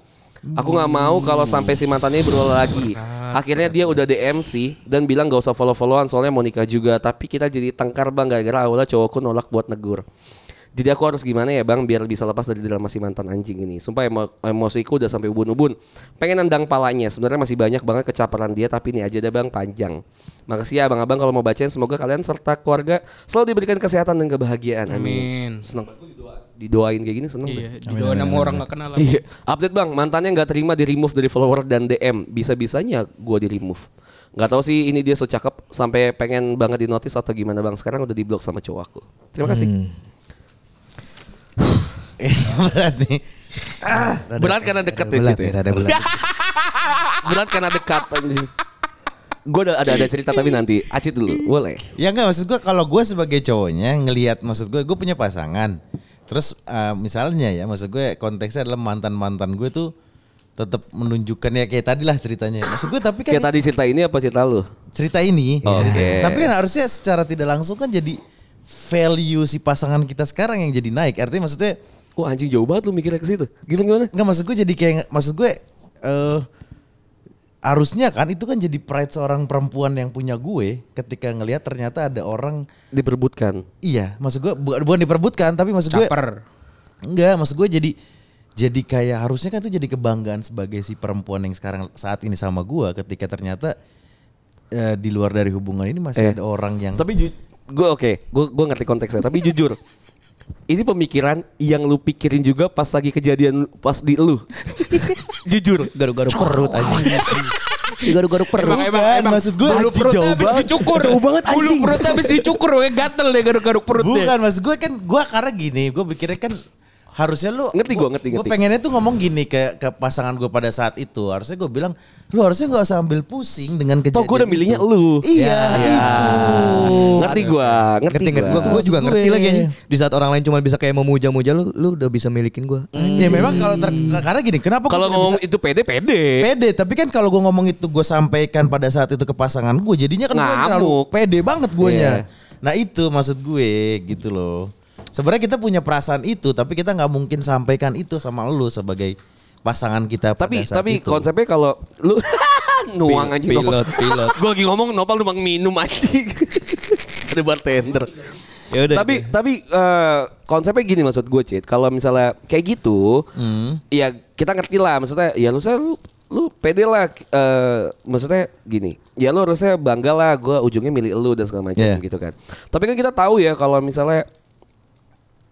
[SPEAKER 2] aku nggak mau kalau sampai si mantannya berulang lagi akhirnya dia udah DM sih dan bilang nggak usah follow followan soalnya mau nikah juga tapi kita jadi tengkar bang gara-gara awalnya cowokku nolak buat negur jadi aku harus gimana ya bang biar bisa lepas dari drama si mantan anjing ini. Sumpah emo emosiku udah sampai ubun-ubun. Pengen nendang palanya. Sebenarnya masih banyak banget kecaperan dia tapi ini aja deh bang panjang. Makasih ya abang-abang kalau mau bacain semoga kalian serta keluarga selalu diberikan kesehatan dan kebahagiaan.
[SPEAKER 3] Amin.
[SPEAKER 2] Amin. Seneng. Didoain kayak gini seneng.
[SPEAKER 3] Iya,
[SPEAKER 2] deh.
[SPEAKER 3] didoain sama orang nggak kenal.
[SPEAKER 2] Iya. Update bang, mantannya nggak terima di remove dari follower dan DM. Bisa-bisanya gua di remove. Nggak tahu sih ini dia so cakep sampai pengen banget di notice atau gimana bang. Sekarang udah di blok sama cowok aku. Terima kasih.
[SPEAKER 4] Iya, Berat nih.
[SPEAKER 2] Berat karena dekat ya,
[SPEAKER 4] Berat
[SPEAKER 2] Cit, ya?
[SPEAKER 4] nih, ada berat.
[SPEAKER 2] berat karena dekat gue ada ada ada cerita tapi nanti acit dulu boleh
[SPEAKER 4] Ya enggak maksud gue kalau gue sebagai cowoknya ngelihat maksud gue gue punya pasangan. Terus eh, misalnya ya maksud gue konteksnya adalah mantan-mantan gue tuh tetap menunjukkan ya kayak tadi lah ceritanya. Maksud gue tapi kan
[SPEAKER 2] kayak tadi cerita ini apa cerita lu
[SPEAKER 4] cerita ini.
[SPEAKER 2] Oke.
[SPEAKER 4] cerita ini. Tapi kan harusnya secara tidak langsung kan jadi value si pasangan kita sekarang yang jadi naik. Artinya maksudnya
[SPEAKER 2] Wah anjing jauh banget lu mikirnya ke situ gimana gimana
[SPEAKER 4] Enggak maksud gue jadi kayak maksud gue eh harusnya kan itu kan jadi pride seorang perempuan yang punya gue ketika ngelihat ternyata ada orang
[SPEAKER 2] diperbutkan
[SPEAKER 4] iya maksud gue bu- bukan diperbutkan tapi maksud gue
[SPEAKER 3] Caper.
[SPEAKER 4] enggak maksud gue jadi jadi kayak harusnya kan itu jadi kebanggaan sebagai si perempuan yang sekarang saat ini sama gue ketika ternyata eh, di luar dari hubungan ini
[SPEAKER 2] Eh.
[SPEAKER 4] masih ada orang yang
[SPEAKER 2] tapi gue oke gue gue ngerti konteksnya tapi jujur ini pemikiran yang lu pikirin juga pas lagi kejadian pas di lu jujur
[SPEAKER 5] Garu-garu perut aja. Garu-garu perut.
[SPEAKER 3] Emang, emang,
[SPEAKER 4] Bukan,
[SPEAKER 3] emang.
[SPEAKER 4] kan maksud gue
[SPEAKER 3] bulu
[SPEAKER 4] anjing,
[SPEAKER 3] perut
[SPEAKER 4] jauh
[SPEAKER 3] habis
[SPEAKER 4] banget.
[SPEAKER 3] dicukur.
[SPEAKER 2] Jauh banget,
[SPEAKER 3] Bulu
[SPEAKER 2] anjing.
[SPEAKER 3] perut habis dicukur, kayak gatel deh garuk-garuk perut deh.
[SPEAKER 4] Bukan maksud gue kan gue karena gini gue pikirnya kan harusnya lu
[SPEAKER 2] Ngerti gua, ngerti,
[SPEAKER 4] gua
[SPEAKER 2] ngerti.
[SPEAKER 4] pengennya tuh ngomong gini ke ke pasangan gue pada saat itu harusnya gue bilang lu harusnya nggak usah ambil pusing dengan kejadian
[SPEAKER 2] Toh gue udah
[SPEAKER 4] itu."
[SPEAKER 2] milihnya lu.
[SPEAKER 4] iya
[SPEAKER 2] Ngerti gue, ngerti,
[SPEAKER 5] Ngerti ngerti
[SPEAKER 2] gua.
[SPEAKER 5] gue, gue
[SPEAKER 4] Maksud
[SPEAKER 5] juga
[SPEAKER 4] ya.
[SPEAKER 5] ngerti
[SPEAKER 4] gue.
[SPEAKER 5] lagi anjing. Di saat orang lain cuma bisa kayak memuja-muja lu, lu udah bisa milikin gue.
[SPEAKER 4] ya memang kalau ter- karena gini kenapa gua
[SPEAKER 2] Kalau
[SPEAKER 4] tidak
[SPEAKER 2] ngomong
[SPEAKER 4] bisa-
[SPEAKER 2] itu pede, pede.
[SPEAKER 4] pede tapi kan kalau gue ngomong itu gue sampaikan pada saat itu ke pasangan gue jadinya kan gue
[SPEAKER 2] Ngamuk.
[SPEAKER 4] terlalu pede banget guanya
[SPEAKER 2] Iya.
[SPEAKER 4] nah itu maksud gue gitu loh sebenarnya kita punya perasaan itu tapi kita nggak mungkin sampaikan itu sama lu sebagai pasangan kita pada
[SPEAKER 2] Tapi
[SPEAKER 4] saat
[SPEAKER 2] tapi
[SPEAKER 4] itu.
[SPEAKER 2] konsepnya kalau lu nuang anjing
[SPEAKER 5] pilot, pilot.
[SPEAKER 2] gue lagi ngomong nopal numpang minum anjing. Ada bartender.
[SPEAKER 5] Ya udah.
[SPEAKER 2] tapi tapi eh, konsepnya gini maksud gue Cid kalau misalnya kayak gitu ya kita ngerti lah maksudnya ya lu saya lu lu pede lah eh, maksudnya gini ya lu harusnya bangga lah gue ujungnya milik lu dan segala macam
[SPEAKER 4] Iya.
[SPEAKER 2] gitu kan tapi kan kita tahu ya kalau misalnya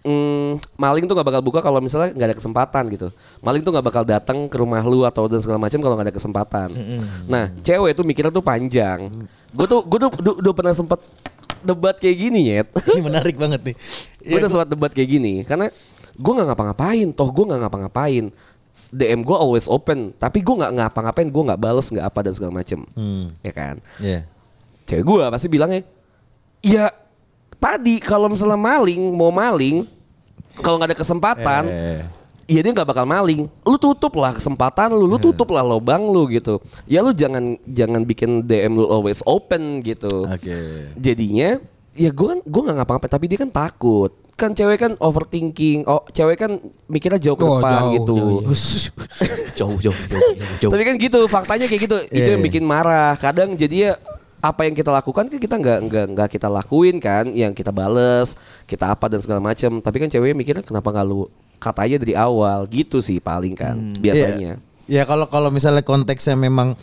[SPEAKER 2] mm, maling tuh nggak bakal buka kalau misalnya nggak ada kesempatan gitu. Maling tuh nggak bakal datang ke rumah lu atau dan segala macam kalau nggak ada kesempatan. Nah, cewek tuh mikirnya tuh panjang. Gue tuh gue tuh du- udah pernah sempet debat kayak gini ya.
[SPEAKER 4] ini menarik banget nih
[SPEAKER 2] gue udah sempat debat kayak gini karena gue nggak ngapa-ngapain, toh gue nggak ngapa-ngapain. DM gue always open, tapi gue nggak ngapa-ngapain, gue nggak bales nggak apa dan segala macem,
[SPEAKER 4] Hmm.
[SPEAKER 2] ya kan?
[SPEAKER 4] Iya.
[SPEAKER 2] cewek gua pasti bilangnya ya tadi kalau misalnya maling mau maling kalau nggak ada kesempatan
[SPEAKER 4] Eh.
[SPEAKER 2] ya dia nggak bakal maling lu tutup lah kesempatan lu
[SPEAKER 4] Eh.
[SPEAKER 2] lu tutup lah lobang lu gitu ya lu jangan jangan bikin DM lu always open gitu
[SPEAKER 4] Oke.
[SPEAKER 2] jadinya ya gua kan gua nggak ngapa-ngapain tapi dia kan takut kan cewek kan overthinking oh cewek kan mikirnya jauh ke
[SPEAKER 3] Oh,
[SPEAKER 2] depan
[SPEAKER 3] jauh,
[SPEAKER 2] gitu
[SPEAKER 3] jauh,
[SPEAKER 5] jauh, jauh, jauh, jauh, jauh.
[SPEAKER 2] tapi kan gitu faktanya kayak gitu. Itu
[SPEAKER 4] Iya.
[SPEAKER 2] yang bikin marah. Kadang jadinya apa yang kita lakukan kan kita nggak nggak nggak kita lakuin kan, yang kita bales, kita apa dan segala macam. Tapi kan ceweknya mikirnya kenapa nggak lu kata aja dari awal gitu sih paling kan
[SPEAKER 4] Hmm.
[SPEAKER 2] biasanya.
[SPEAKER 4] Ya kalau kalau misalnya konteksnya memang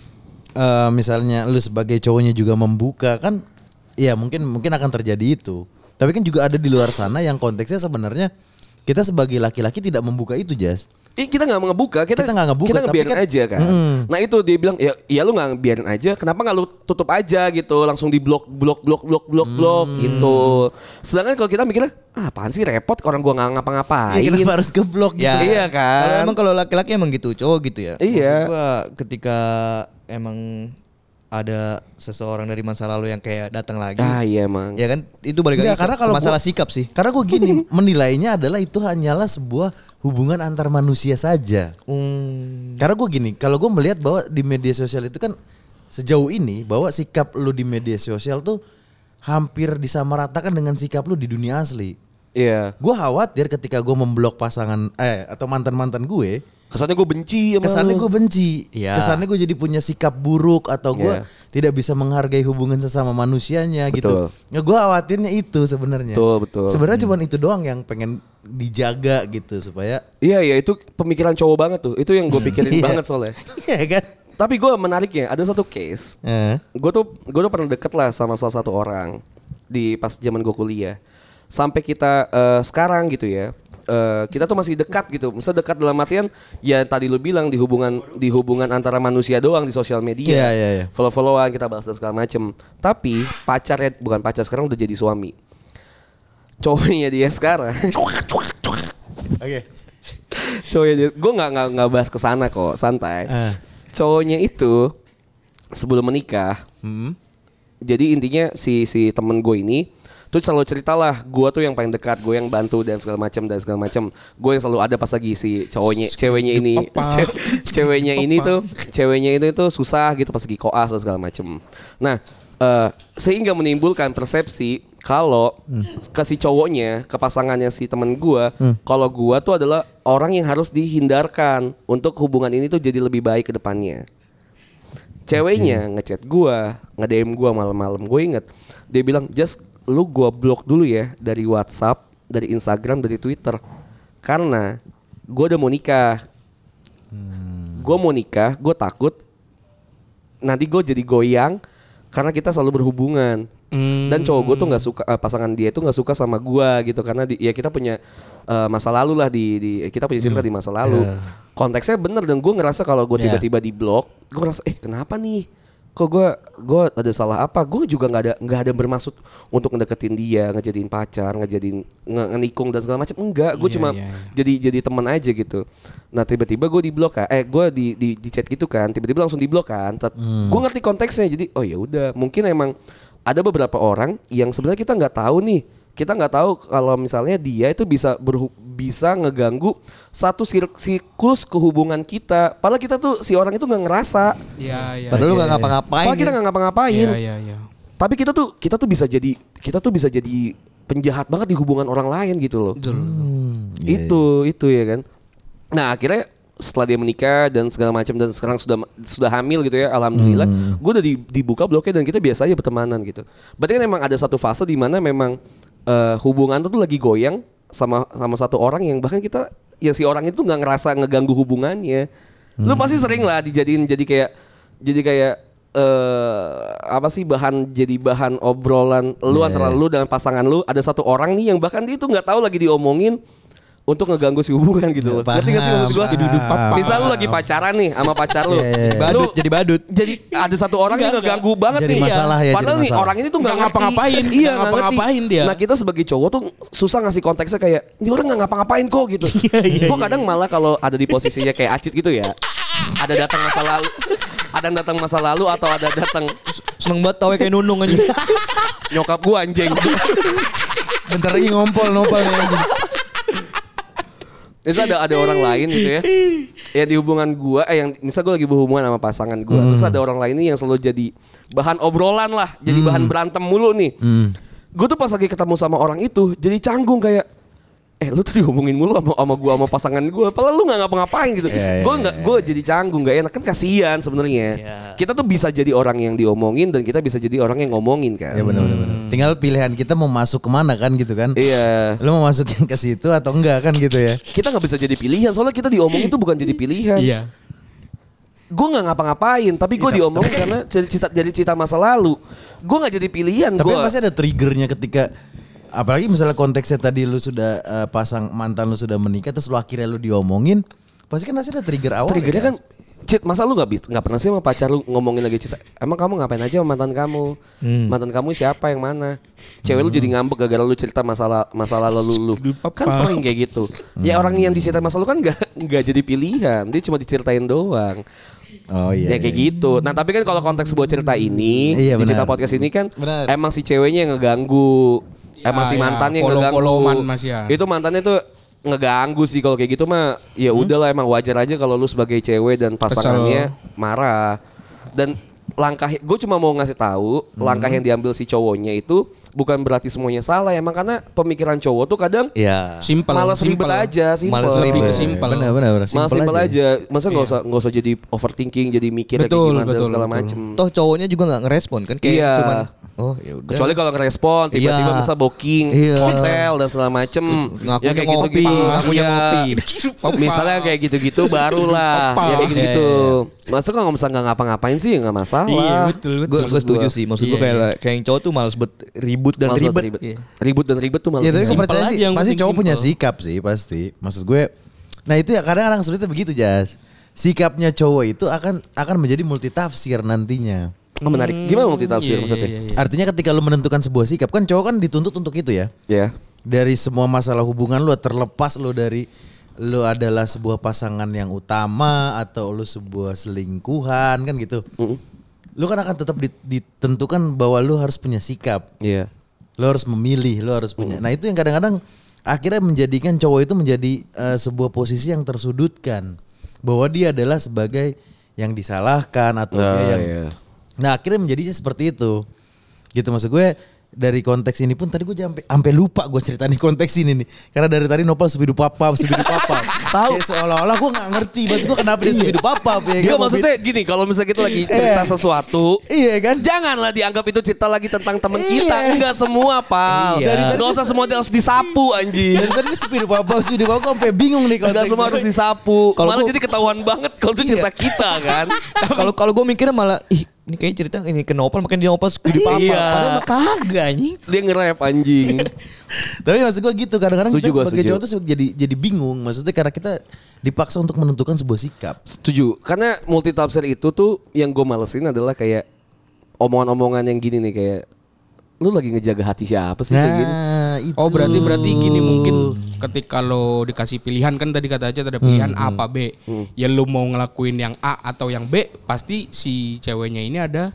[SPEAKER 4] eh, misalnya lu sebagai cowoknya juga membuka kan ya mungkin mungkin akan terjadi itu. Tapi kan juga ada di luar sana yang konteksnya sebenarnya kita sebagai laki-laki tidak membuka itu, Jas.
[SPEAKER 2] Ih, kita nggak ngebuka, kita
[SPEAKER 4] Kita nggak ngebuka,
[SPEAKER 2] kita
[SPEAKER 4] tapi
[SPEAKER 2] ngebiarin
[SPEAKER 4] kan-
[SPEAKER 2] aja kan.
[SPEAKER 4] Mm.
[SPEAKER 2] Nah itu dia bilang, ya, ya lu nggak biarin aja, kenapa nggak lu tutup aja gitu, langsung di blok, blok, blok, blok, blok,
[SPEAKER 4] Hmm.
[SPEAKER 2] blok gitu. Sedangkan kalau kita mikirnya, ah, apaan sih repot, orang gua nggak ngapa-ngapain.
[SPEAKER 4] Ya, kenapa harus geblok gitu?
[SPEAKER 5] Ya.
[SPEAKER 2] Iya kan?
[SPEAKER 5] Kalau emang kalau laki-laki emang gitu, cowok gitu ya.
[SPEAKER 2] Iya.
[SPEAKER 5] Maksud gua ketika emang ada seseorang dari masa lalu yang kayak datang lagi.
[SPEAKER 2] ah iya emang.
[SPEAKER 5] Ya kan itu balik lagi
[SPEAKER 4] Enggak,
[SPEAKER 5] ke-
[SPEAKER 4] karena
[SPEAKER 5] ke
[SPEAKER 4] kalau
[SPEAKER 5] masalah
[SPEAKER 4] gua-
[SPEAKER 5] sikap sih.
[SPEAKER 4] Iya Karena gue gini menilainya adalah itu hanyalah sebuah hubungan antar manusia saja.
[SPEAKER 2] Hmm.
[SPEAKER 4] Karena gue gini, kalau gue melihat bahwa di media sosial itu kan sejauh ini bahwa sikap lu di media sosial tuh hampir disamaratakan dengan sikap lu di dunia asli.
[SPEAKER 2] Iya.
[SPEAKER 4] Gue khawatir ketika gue memblok pasangan eh atau mantan mantan gue,
[SPEAKER 2] Kesannya gue benci sama
[SPEAKER 4] kesannya gue benci,
[SPEAKER 5] Iya.
[SPEAKER 4] kesannya gue jadi punya sikap buruk atau gue
[SPEAKER 2] Iya.
[SPEAKER 4] tidak bisa menghargai hubungan sesama manusianya
[SPEAKER 2] Betul.
[SPEAKER 4] gitu. Ya gue khawatirnya itu sebenarnya.
[SPEAKER 2] Betul, betul. Hmm.
[SPEAKER 4] Sebenarnya cuman itu doang yang pengen dijaga gitu supaya.
[SPEAKER 2] Iya iya itu pemikiran cowok banget tuh. Itu yang gue pikirin
[SPEAKER 4] Iya.
[SPEAKER 2] banget soalnya.
[SPEAKER 4] Iya kan?
[SPEAKER 2] Tapi gue menariknya ada satu case.
[SPEAKER 4] Eh.
[SPEAKER 2] Gue tuh gue tuh pernah deket lah sama salah satu orang di pas zaman gue kuliah. Sampai kita eh, sekarang gitu ya. eh, kita tuh masih dekat gitu. Masa dekat dalam artian ya tadi lu bilang di hubungan di hubungan antara manusia doang di sosial media.
[SPEAKER 4] Iya, iya, iya.
[SPEAKER 2] Follow-followan kita bahas dan segala macem. Tapi pacarnya bukan pacar sekarang udah jadi suami. Cowoknya dia sekarang
[SPEAKER 4] Oke.
[SPEAKER 2] cowoknya dia gue nggak nggak nggak bahas kesana kok santai
[SPEAKER 4] Eh.
[SPEAKER 2] cowoknya itu sebelum menikah
[SPEAKER 4] Hmm.
[SPEAKER 2] jadi intinya si si temen gue ini tuh selalu ceritalah gue tuh yang paling dekat gue yang bantu dan segala macam dan segala macam gue yang selalu ada pas lagi si cowoknya ceweknya ini ce- ceweknya ini tuh ceweknya ini tuh susah gitu pas lagi koas dan segala macam nah eh, sehingga menimbulkan persepsi kalau ke si cowoknya ke pasangannya si temen gue kalau gue tuh adalah orang yang harus dihindarkan untuk hubungan ini tuh jadi lebih baik ke depannya ceweknya ngechat gua, nge-DM gua malam-malam. Gue inget dia bilang, "Just lu gua blok dulu ya dari WhatsApp, dari Instagram, dari Twitter." Karena gua udah mau nikah. Gua mau nikah, gue takut nanti gue jadi goyang karena kita selalu berhubungan. Dan cowok gue tuh nggak suka eh, pasangan dia tuh nggak suka sama gua gitu karena di, ya kita punya eh, masa lalu lah di, di kita punya cerita di masa lalu konteksnya bener dan gue ngerasa kalau gue
[SPEAKER 4] Iya.
[SPEAKER 2] tiba-tiba di blok gue ngerasa eh kenapa nih kok gue gue ada salah apa gue juga nggak ada nggak ada bermaksud untuk ngedeketin dia ngejadiin pacar ngejadiin nge ngenikung dan segala macam enggak gue
[SPEAKER 3] Iya,
[SPEAKER 2] cuma
[SPEAKER 3] iya, iya.
[SPEAKER 2] jadi jadi teman aja gitu nah tiba-tiba gue di blok kan eh gue di, di di chat gitu kan tiba-tiba langsung di blok kan
[SPEAKER 3] Hmm.
[SPEAKER 2] gue ngerti konteksnya jadi oh ya udah mungkin emang ada beberapa orang yang sebenarnya kita nggak tahu nih kita nggak tahu kalau misalnya dia itu bisa berhu- bisa ngeganggu satu sir- siklus kehubungan kita padahal kita tuh si orang itu nggak ngerasa
[SPEAKER 3] Iya, iya.
[SPEAKER 5] Padahal lu gak ngapa-ngapain.
[SPEAKER 2] Ya, padahal kita
[SPEAKER 4] gitu.
[SPEAKER 2] nggak ngapa-ngapain
[SPEAKER 3] Iya, iya, iya.
[SPEAKER 2] tapi kita tuh kita tuh bisa jadi kita tuh bisa jadi penjahat banget di hubungan orang lain gitu loh
[SPEAKER 3] Betul.
[SPEAKER 2] itu itu ya kan nah akhirnya setelah dia menikah dan segala macam dan sekarang sudah sudah hamil gitu ya alhamdulillah gue udah di- dibuka bloknya dan kita biasa aja pertemanan gitu berarti kan memang ada satu fase di mana memang eh, hubungan tuh lagi goyang sama sama satu orang yang bahkan kita ya si orang itu nggak ngerasa ngeganggu hubungannya lu pasti sering lah dijadiin jadi kayak jadi kayak eh apa sih bahan jadi bahan obrolan lu antara lu dengan pasangan lu ada satu orang nih yang bahkan dia itu nggak tahu lagi diomongin untuk ngeganggu si hubungan gitu loh. Ngerti gak sih maksud gua?
[SPEAKER 4] Paham, Jadi duduk paham.
[SPEAKER 2] Misal lu lagi pacaran nih sama pacar lu. Lu
[SPEAKER 5] Badut, jadi badut.
[SPEAKER 2] jadi ada satu orang yang ngeganggu banget
[SPEAKER 4] Jadi
[SPEAKER 2] nih. Iya.
[SPEAKER 4] masalah ya, jadi
[SPEAKER 2] Padahal nih
[SPEAKER 4] masalah.
[SPEAKER 2] orang ini tuh nggak
[SPEAKER 3] Nggak ngapa-ngapain,
[SPEAKER 2] ngerti. Iya,
[SPEAKER 3] nggak
[SPEAKER 2] nggak ngerti.
[SPEAKER 3] ngapa-ngapain dia.
[SPEAKER 2] Nah kita sebagai cowok tuh susah ngasih konteksnya kayak ini orang nggak ngapa-ngapain kok gitu.
[SPEAKER 3] Iya,
[SPEAKER 2] Gue kadang malah kalau ada di posisinya kayak acit gitu ya, ada datang masa lalu, ada yang datang masa lalu atau ada datang
[SPEAKER 5] Seneng banget tau kayak nunung aja.
[SPEAKER 2] nyokap gue anjing.
[SPEAKER 4] Bentar lagi ngompol nompol nih anjing.
[SPEAKER 2] Terus ada ada orang lain gitu ya. Ya di hubungan gua eh yang misal gua lagi berhubungan sama pasangan gua, terus
[SPEAKER 4] Hmm.
[SPEAKER 2] ada orang lain nih yang selalu jadi bahan obrolan lah, jadi
[SPEAKER 4] Hmm.
[SPEAKER 2] bahan berantem mulu nih. Gue tuh pas lagi ketemu sama orang itu jadi canggung kayak eh lu tuh dihubungin mulu sama sama gua sama pasangan gua, padahal lu nggak ngapa-ngapain gitu.
[SPEAKER 4] Iya, iya,
[SPEAKER 2] Gua nggak gua jadi canggung nggak enak kan kasihan sebenarnya. Kita tuh bisa jadi orang yang diomongin dan kita bisa jadi orang yang ngomongin kan.
[SPEAKER 4] Ya benar benar. benar. Tinggal pilihan kita mau masuk kemana kan gitu kan.
[SPEAKER 2] Iya.
[SPEAKER 4] Lu mau masukin ke situ atau enggak kan gitu ya.
[SPEAKER 2] Kita nggak bisa jadi pilihan soalnya kita diomongin tuh bukan jadi pilihan.
[SPEAKER 3] Iya.
[SPEAKER 2] gue nggak ngapa-ngapain tapi gue diomongin karena cerita jadi cerita masa lalu gue nggak jadi pilihan
[SPEAKER 4] Tapi
[SPEAKER 2] gue
[SPEAKER 4] kan pasti ada triggernya ketika apalagi misalnya konteksnya tadi lu sudah eh, pasang mantan lu sudah menikah terus lu akhirnya lu diomongin pasti kan pasti ada trigger awal.
[SPEAKER 2] triggernya
[SPEAKER 4] ya.
[SPEAKER 2] kan Cit, masa lu nggak bi- nggak pernah sih sama pacar lu ngomongin lagi cerita emang kamu ngapain aja sama mantan kamu mantan kamu siapa yang mana cewek lu jadi ngambek gara-gara lu cerita masalah masalah lalu lu kan sering kayak gitu ya orang yang diceritain masa lalu kan nggak nggak jadi pilihan dia cuma diceritain doang
[SPEAKER 4] Oh iya.
[SPEAKER 2] ya kayak gitu. Nah tapi kan kalau konteks buat cerita ini,
[SPEAKER 4] Iya,
[SPEAKER 2] di cerita
[SPEAKER 4] benar.
[SPEAKER 2] podcast ini kan
[SPEAKER 4] Benar.
[SPEAKER 2] emang si ceweknya yang ngeganggu, emang si
[SPEAKER 3] ya,
[SPEAKER 2] mantannya yang
[SPEAKER 3] follow-
[SPEAKER 2] ngeganggu.
[SPEAKER 3] followan Mas ya.
[SPEAKER 2] Itu mantannya tuh ngeganggu sih kalau kayak gitu mah ya
[SPEAKER 3] Hmm?
[SPEAKER 2] udahlah emang wajar aja kalau lu sebagai cewek dan pasangannya marah. Dan langkah gue cuma mau ngasih tahu
[SPEAKER 4] Hmm.
[SPEAKER 2] langkah yang diambil si cowoknya itu bukan berarti semuanya salah ya. emang karena pemikiran cowok tuh kadang
[SPEAKER 5] Iya.
[SPEAKER 3] Simpel.
[SPEAKER 2] malas ribet
[SPEAKER 3] simpel.
[SPEAKER 2] aja sih
[SPEAKER 5] Males
[SPEAKER 3] Lebih
[SPEAKER 5] ribet.
[SPEAKER 3] ke simpel.
[SPEAKER 4] Benar benar benar.
[SPEAKER 2] gitu, Malah simpel aja. Masa nggak
[SPEAKER 3] Iya.
[SPEAKER 2] usah nggak usah jadi overthinking, jadi mikir kayak
[SPEAKER 3] Betul,
[SPEAKER 2] gimana dan
[SPEAKER 3] betul,
[SPEAKER 2] segala
[SPEAKER 3] betul.
[SPEAKER 2] macem.
[SPEAKER 5] Toh cowoknya juga gak ngerespon kan kayak
[SPEAKER 2] Hmm. Iya.
[SPEAKER 5] cuman oh ya udah.
[SPEAKER 2] Kecuali kalau ngerespon tiba-tiba
[SPEAKER 5] Iya.
[SPEAKER 2] bisa booking
[SPEAKER 5] Iya.
[SPEAKER 2] hotel dan segala macem. Ya,
[SPEAKER 5] Ngakunya ngopi,
[SPEAKER 2] Ngakunya
[SPEAKER 5] ngakunya ngopi.
[SPEAKER 2] Iya. Misalnya kayak gitu-gitu barulah.
[SPEAKER 3] Opas.
[SPEAKER 2] ya kayak gitu. Masa kalau nggak bisa nggak ngapa-ngapain sih nggak masalah.
[SPEAKER 3] Iya, betul, betul.
[SPEAKER 5] Gue setuju
[SPEAKER 2] gua.
[SPEAKER 5] sih maksud gue
[SPEAKER 3] Iya.
[SPEAKER 5] kayak kayak yang cowok tuh males bet ribut dan
[SPEAKER 2] Malas
[SPEAKER 5] ribet. Iya.
[SPEAKER 2] ribet. Ribut dan ribet tuh malas.
[SPEAKER 4] Ya tapi
[SPEAKER 2] ribet.
[SPEAKER 4] gue percaya
[SPEAKER 3] aja
[SPEAKER 4] sih,
[SPEAKER 3] yang
[SPEAKER 4] pasti
[SPEAKER 3] penting
[SPEAKER 4] cowok punya
[SPEAKER 3] simple.
[SPEAKER 4] sikap sih pasti. Maksud gue, nah itu ya kadang-kadang sulitnya begitu Jas. Sikapnya cowok itu akan akan menjadi multitafsir nantinya.
[SPEAKER 2] Oh, menarik. Gimana multitafsir
[SPEAKER 3] Iya,
[SPEAKER 2] maksudnya?
[SPEAKER 3] iya, iya.
[SPEAKER 4] Artinya ketika lu menentukan sebuah sikap kan cowok kan dituntut untuk itu ya.
[SPEAKER 2] Ya.
[SPEAKER 4] Dari semua masalah hubungan lu terlepas lu dari lu adalah sebuah pasangan yang utama atau lu sebuah selingkuhan kan gitu. Lu kan akan tetap di- ditentukan bahwa lu harus punya sikap
[SPEAKER 2] Iya.
[SPEAKER 4] lo harus memilih lo harus
[SPEAKER 2] Hmm.
[SPEAKER 4] punya nah itu yang kadang-kadang akhirnya menjadikan cowok itu menjadi eh, sebuah posisi yang tersudutkan bahwa dia adalah sebagai yang disalahkan atau
[SPEAKER 2] Nah,
[SPEAKER 4] dia yang
[SPEAKER 2] iya.
[SPEAKER 4] nah akhirnya menjadinya seperti itu gitu maksud gue dari konteks ini pun tadi gue sampai sampai lupa gue cerita nih konteks ini nih karena dari tadi nopal subidu papap subidu papap tahu Iya, seolah-olah gue nggak ngerti maksud gue kenapa dia subidu papap ya
[SPEAKER 2] Gak
[SPEAKER 4] kan?
[SPEAKER 2] Iya. maksudnya gini, kalau misalnya kita lagi cerita sesuatu,
[SPEAKER 4] iya kan
[SPEAKER 2] Janganlah dianggap itu cerita lagi tentang teman kita.
[SPEAKER 4] Iya.
[SPEAKER 2] Enggak semua, Pal.
[SPEAKER 4] Iya. Dari tadi
[SPEAKER 2] Enggak usah semua harus disapu, anjing.
[SPEAKER 4] Iya, dari tadi dia subidu papap subidu papap gue sampai bingung nih
[SPEAKER 2] Enggak semua harus disapu. Malah jadi ketahuan banget kalau
[SPEAKER 4] Iya.
[SPEAKER 2] itu cerita kita, kan?
[SPEAKER 5] Kalau kalau gue mikirnya malah ih ini kayaknya cerita ini ke Nopal makin dia Nopal di papa.
[SPEAKER 2] Iya.
[SPEAKER 5] Padahal mah kagak anjing.
[SPEAKER 2] Dia nge-rap, anjing.
[SPEAKER 4] Tapi maksud gue gitu kadang-kadang
[SPEAKER 2] Setuju
[SPEAKER 4] kita
[SPEAKER 2] gua,
[SPEAKER 4] sebagai
[SPEAKER 2] setuju.
[SPEAKER 4] cowok tuh jadi jadi bingung maksudnya karena kita dipaksa untuk menentukan sebuah sikap.
[SPEAKER 2] Setuju. Karena multitafsir itu tuh yang gue malesin adalah kayak omongan-omongan yang gini nih kayak lu lagi ngejaga hati siapa sih kayak gini?
[SPEAKER 4] Nah, itu.
[SPEAKER 3] Oh berarti berarti gini mungkin ketika lo dikasih pilihan kan tadi kata aja ada
[SPEAKER 4] Hmm,
[SPEAKER 3] pilihan A apa B.
[SPEAKER 5] Hmm.
[SPEAKER 3] Ya lo mau ngelakuin yang A atau yang B pasti si ceweknya ini ada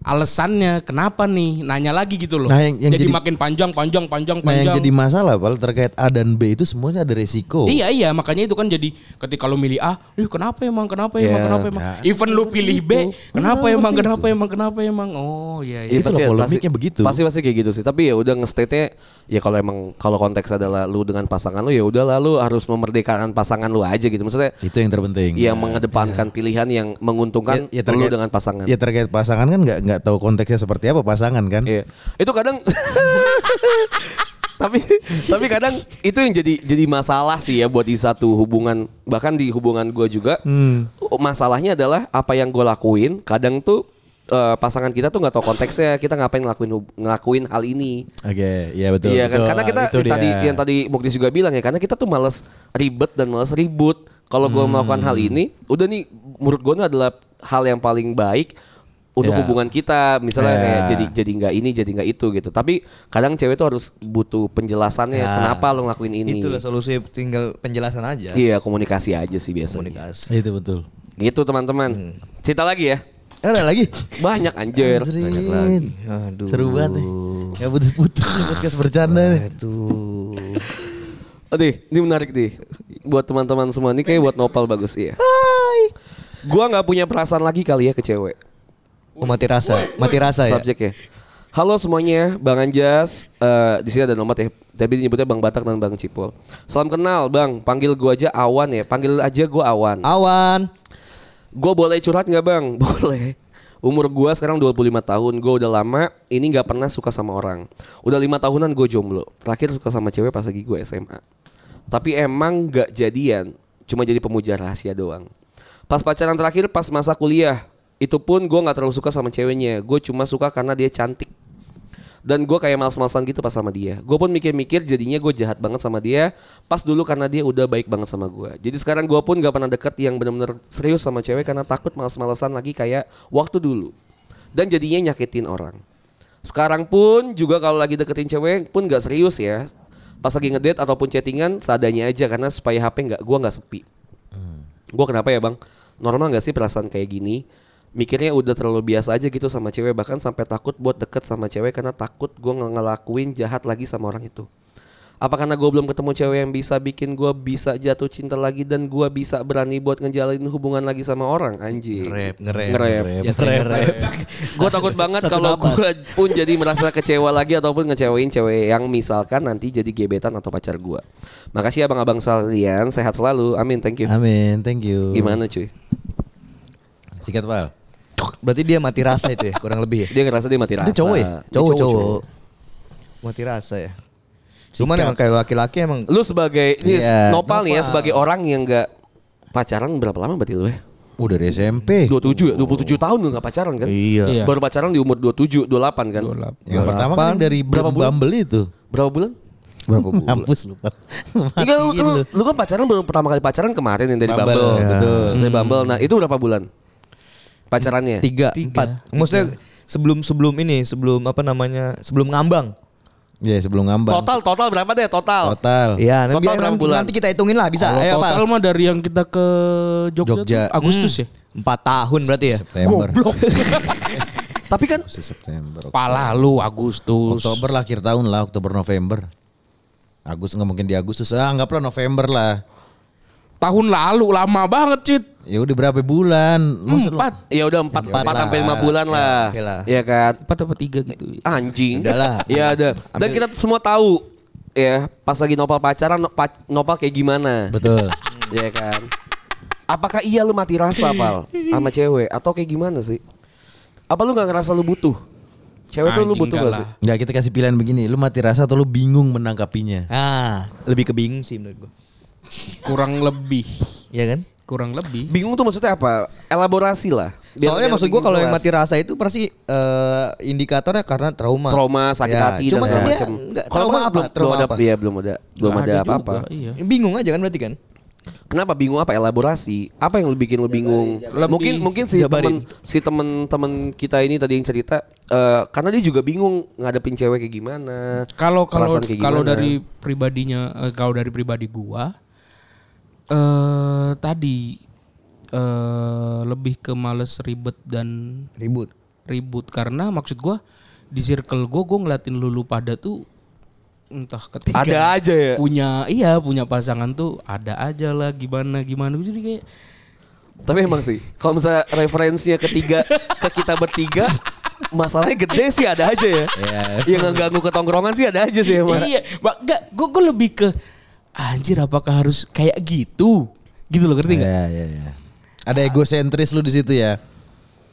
[SPEAKER 3] alasannya kenapa nih nanya lagi gitu loh.
[SPEAKER 4] Nah, yang- yang
[SPEAKER 3] jadi,
[SPEAKER 4] jadi-
[SPEAKER 3] makin panjang panjang panjang
[SPEAKER 4] Nah, yang
[SPEAKER 3] panjang.
[SPEAKER 4] jadi masalah pal terkait A dan B itu semuanya ada resiko.
[SPEAKER 3] Iya iya makanya itu kan jadi ketika lo milih A, "Ih, kenapa emang kenapa emang
[SPEAKER 2] Ya,
[SPEAKER 3] kenapa emang. Even lo pilih B, kenapa emang kenapa emang kenapa emang. Oh iya iya.
[SPEAKER 2] Iya,
[SPEAKER 4] Itu loh polemiknya begitu.
[SPEAKER 2] Pasti pasti kayak gitu sih. Tapi ya udah nge-state-nya ya kalau emang kalau konteks adalah lu dengan pasangan lu ya udah lah lu harus memerdekakan pasangan lu aja gitu. Maksudnya
[SPEAKER 4] Itu yang terpenting.
[SPEAKER 2] yang mengedepankan pilihan yang menguntungkan
[SPEAKER 4] Iya, Ya- ya
[SPEAKER 2] lu
[SPEAKER 4] terkait-
[SPEAKER 2] Iya, dengan pasangan.
[SPEAKER 4] Ya terkait pasangan kan nggak nggak tahu konteksnya seperti apa pasangan kan.
[SPEAKER 2] Iya. Itu kadang tapi tapi kadang itu yang jadi jadi masalah sih ya buat di satu hubungan bahkan di hubungan gue juga
[SPEAKER 4] Hmm.
[SPEAKER 2] oh, masalahnya adalah apa yang gue lakuin kadang tuh eh, pasangan kita tuh nggak tahu konteksnya kita ngapain ngelakuin hub- ngelakuin hal ini
[SPEAKER 4] Oke, iya betul.
[SPEAKER 2] iya kan
[SPEAKER 4] betul.
[SPEAKER 2] karena kita
[SPEAKER 4] Itu
[SPEAKER 2] yang tadi
[SPEAKER 4] dia.
[SPEAKER 2] yang tadi Mukdis juga bilang ya karena kita tuh malas ribet dan malas ribut. Kalau gua
[SPEAKER 4] Hmm.
[SPEAKER 2] melakukan hal ini, udah nih menurut gua ini adalah hal yang paling baik untuk
[SPEAKER 4] Ya.
[SPEAKER 2] hubungan kita. Misalnya
[SPEAKER 4] Ya.
[SPEAKER 2] kayak jadi jadi nggak ini, jadi nggak itu gitu. Tapi kadang cewek tuh harus butuh penjelasannya
[SPEAKER 4] Iya.
[SPEAKER 5] Ya.
[SPEAKER 2] kenapa lo ngelakuin ini.
[SPEAKER 5] Itulah solusi tinggal penjelasan aja.
[SPEAKER 2] Iya, komunikasi aja sih biasanya.
[SPEAKER 5] Komunikasi.
[SPEAKER 4] Itu betul.
[SPEAKER 2] Gitu
[SPEAKER 4] Hmm.
[SPEAKER 2] teman-teman. Cerita lagi ya.
[SPEAKER 4] Ada lagi.
[SPEAKER 2] Banyak anjir.
[SPEAKER 4] Anjrit.
[SPEAKER 5] Aduh.
[SPEAKER 4] Seru banget nih. Gak putus-putus podcast bercanda nih.
[SPEAKER 5] Aduh.
[SPEAKER 2] Aduh, Oh, ini menarik nih. Buat teman-teman semua ini kayak buat nopal bagus iya. Gua nggak punya perasaan lagi kali ya ke cewek.
[SPEAKER 5] Oh, mati rasa. Mati rasa ya.
[SPEAKER 2] Subjek ya. Halo semuanya, Bang Anjas. Eh, di sini ada nomor ya. Tapi nyebutnya Bang Batak dan Bang Cipol. Salam kenal, Bang. Panggil gua aja Awan ya. Panggil aja gua Awan.
[SPEAKER 5] Awan.
[SPEAKER 2] Gua boleh curhat nggak, Bang? Boleh. Umur gua sekarang 25 tahun. Gua udah lama ini nggak pernah suka sama orang. Udah lima tahunan gue jomblo. Terakhir suka sama cewek pas lagi gue SMA. Tapi emang nggak jadian. Cuma jadi pemuja rahasia doang. Pas pacaran terakhir pas masa kuliah, itu pun gua nggak terlalu suka sama ceweknya. Gue cuma suka karena dia cantik dan gue kayak males-malesan gitu pas sama dia gue pun mikir-mikir jadinya gue jahat banget sama dia pas dulu karena dia udah baik banget sama gue jadi sekarang gue pun gak pernah deket yang bener-bener serius sama cewek karena takut males-malesan lagi kayak waktu dulu dan jadinya nyakitin orang sekarang pun juga kalau lagi deketin cewek pun gak serius ya pas lagi ngedate ataupun chattingan seadanya aja karena supaya HP nggak gue nggak sepi Gue kenapa ya bang? Normal gak sih perasaan kayak gini? Mikirnya udah terlalu biasa aja gitu sama cewek Bahkan sampai takut buat deket sama cewek Karena takut gue ngelakuin jahat lagi sama orang itu Apa karena gue belum ketemu cewek yang bisa bikin gue bisa jatuh cinta lagi Dan gue bisa berani buat ngejalin hubungan lagi sama orang Anjing
[SPEAKER 5] Ngerep, ngerep,
[SPEAKER 2] Ngerep.
[SPEAKER 5] Ya, ngerep.
[SPEAKER 2] Gue takut banget kalau gue pun jadi merasa kecewa lagi ataupun ngecewain cewek yang misalkan nanti jadi gebetan atau pacar gue. Makasih ya, abang-abang sekalian, sehat selalu. Amin, thank you.
[SPEAKER 4] Amin, thank you.
[SPEAKER 2] Gimana cuy?
[SPEAKER 4] Sikat pal.
[SPEAKER 5] Berarti dia mati rasa itu ya, kurang lebih ya.
[SPEAKER 2] Dia ngerasa dia mati rasa.
[SPEAKER 4] Dia cowok ya?
[SPEAKER 2] Dia
[SPEAKER 5] Cowok,
[SPEAKER 2] cowok,
[SPEAKER 5] cowok. Mati rasa ya. Cuman emang kayak laki-laki emang
[SPEAKER 2] Lu sebagai ini
[SPEAKER 4] Iya,
[SPEAKER 2] nopal nih ya sebagai orang yang nggak pacaran berapa lama berarti lu ya?
[SPEAKER 4] Oh dari SMP.
[SPEAKER 2] 27 ya, 27 tahun lu nggak pacaran kan?
[SPEAKER 3] Iya.
[SPEAKER 2] Baru pacaran di umur 27, 28 kan?
[SPEAKER 3] Dolap.
[SPEAKER 4] Yang pertama kan yang dari
[SPEAKER 2] Berapa
[SPEAKER 4] Bumble
[SPEAKER 2] bulan?
[SPEAKER 4] itu.
[SPEAKER 2] Berapa bulan?
[SPEAKER 5] berapa bulan?
[SPEAKER 4] Mampus lu Pal.
[SPEAKER 2] Iya, lu,
[SPEAKER 4] Matiin
[SPEAKER 2] lu,
[SPEAKER 4] lu.
[SPEAKER 2] lu kan pacaran baru pertama kali pacaran kemarin yang dari Bumble,
[SPEAKER 4] Bumble, ya.
[SPEAKER 2] betul. Dari Bumble. Nah, itu berapa bulan? Pacarannya?
[SPEAKER 5] Tiga,
[SPEAKER 3] Tiga.
[SPEAKER 5] empat. Maksudnya sebelum sebelum ini, sebelum apa namanya, sebelum ngambang.
[SPEAKER 4] Ya sebelum ngambang.
[SPEAKER 2] Total total berapa deh total?
[SPEAKER 4] Total.
[SPEAKER 5] Iya,
[SPEAKER 2] Total
[SPEAKER 5] nanti,
[SPEAKER 2] berapa
[SPEAKER 5] nanti-
[SPEAKER 2] bulan?
[SPEAKER 5] nanti kita hitungin lah bisa.
[SPEAKER 3] Kalau
[SPEAKER 5] Ayo, Pak.
[SPEAKER 3] Oh, total mah dari yang kita ke Jogja, tuh
[SPEAKER 4] Jogja.
[SPEAKER 3] Agustus ya.
[SPEAKER 5] Empat tahun berarti ya.
[SPEAKER 4] Iya. September. iya,
[SPEAKER 2] Tapi kan
[SPEAKER 4] September.
[SPEAKER 3] Pala lu Agustus.
[SPEAKER 4] Oktober lah akhir tahun lah, Oktober November. Agus nggak mungkin di Agustus, ah, anggaplah November lah.
[SPEAKER 3] Tahun lalu lama banget, Cit. Hmm,
[SPEAKER 4] Ya udah berapa bulan? Masa lu-
[SPEAKER 3] Empat.
[SPEAKER 2] ya udah 4 4
[SPEAKER 4] lah.
[SPEAKER 2] sampai 5 bulan
[SPEAKER 4] Ya,
[SPEAKER 2] lah.
[SPEAKER 5] oke lah.
[SPEAKER 2] Iya kan?
[SPEAKER 3] Empat apa tiga gitu.
[SPEAKER 2] anjing.
[SPEAKER 5] Udahlah.
[SPEAKER 2] ya ada. Dan kita semua tahu ya pas lagi nopal pacaran no- pac- nopal kayak gimana.
[SPEAKER 4] Hmm. Betul.
[SPEAKER 2] ya kan. Apakah iya lu mati rasa pal sama cewek atau kayak gimana sih? Apa lu nggak ngerasa lu butuh? Cewek tuh lu
[SPEAKER 3] Anjing
[SPEAKER 2] butuh gak
[SPEAKER 3] kalah.
[SPEAKER 2] sih?
[SPEAKER 4] Ya kita kasih pilihan begini, lu mati rasa atau lu bingung menangkapinya?
[SPEAKER 5] Ah, lebih ke bingung sih menurut gua.
[SPEAKER 3] Kurang lebih.
[SPEAKER 5] Iya kan?
[SPEAKER 3] Kurang lebih.
[SPEAKER 2] Bingung tuh maksudnya apa? Elaborasi lah. Biar-
[SPEAKER 5] Soalnya
[SPEAKER 2] biar
[SPEAKER 5] maksud
[SPEAKER 2] bikin
[SPEAKER 5] gua kalau yang
[SPEAKER 2] jelas.
[SPEAKER 5] mati rasa itu pasti eh, indikatornya karena trauma.
[SPEAKER 2] trauma sakit
[SPEAKER 5] Ya,
[SPEAKER 2] hati dan
[SPEAKER 5] Cuma kan
[SPEAKER 2] segala
[SPEAKER 5] dia
[SPEAKER 2] macam.
[SPEAKER 5] nggak-
[SPEAKER 2] Kalau
[SPEAKER 5] trauma
[SPEAKER 2] gua
[SPEAKER 5] apa?
[SPEAKER 2] belum, belum
[SPEAKER 5] Trauma
[SPEAKER 2] ada
[SPEAKER 5] apa?
[SPEAKER 2] iya, belum ada belum
[SPEAKER 3] Nggak
[SPEAKER 2] ada
[SPEAKER 3] juga,
[SPEAKER 2] apa-apa.
[SPEAKER 3] Iya.
[SPEAKER 5] Bingung aja kan berarti kan?
[SPEAKER 2] Kenapa bingung apa elaborasi? Apa yang lu bikin lu bingung? Mungkin mungkin si temen, si teman-teman kita ini tadi yang cerita eh, karena dia juga bingung ngadepin cewek kayak gimana.
[SPEAKER 3] Kalau kalau
[SPEAKER 2] perasaan kayak
[SPEAKER 3] kalau
[SPEAKER 2] gimana.
[SPEAKER 3] dari pribadinya eh, kalau dari pribadi gua eh tadi eh lebih ke males ribet dan
[SPEAKER 5] Ribut.
[SPEAKER 3] ribut karena maksud gua di circle gua gua ngeliatin lulu pada tuh entah ketika
[SPEAKER 2] ada aja ya.
[SPEAKER 3] punya iya punya pasangan tuh ada aja lah gimana gimana jadi kayak
[SPEAKER 2] Tapi emang sih kalau misalnya referensinya ketiga ke kita bertiga masalahnya gede sih ada aja ya. Yang ngeganggu ketongkrongan sih ada aja sih emang.
[SPEAKER 3] iya Ba- enggak gua gua lebih ke anjir apakah harus kayak gitu gitu loh ngerti
[SPEAKER 2] Iya.
[SPEAKER 3] nggak
[SPEAKER 4] Ya, ya, ya. Ada egosentris lu di situ ya.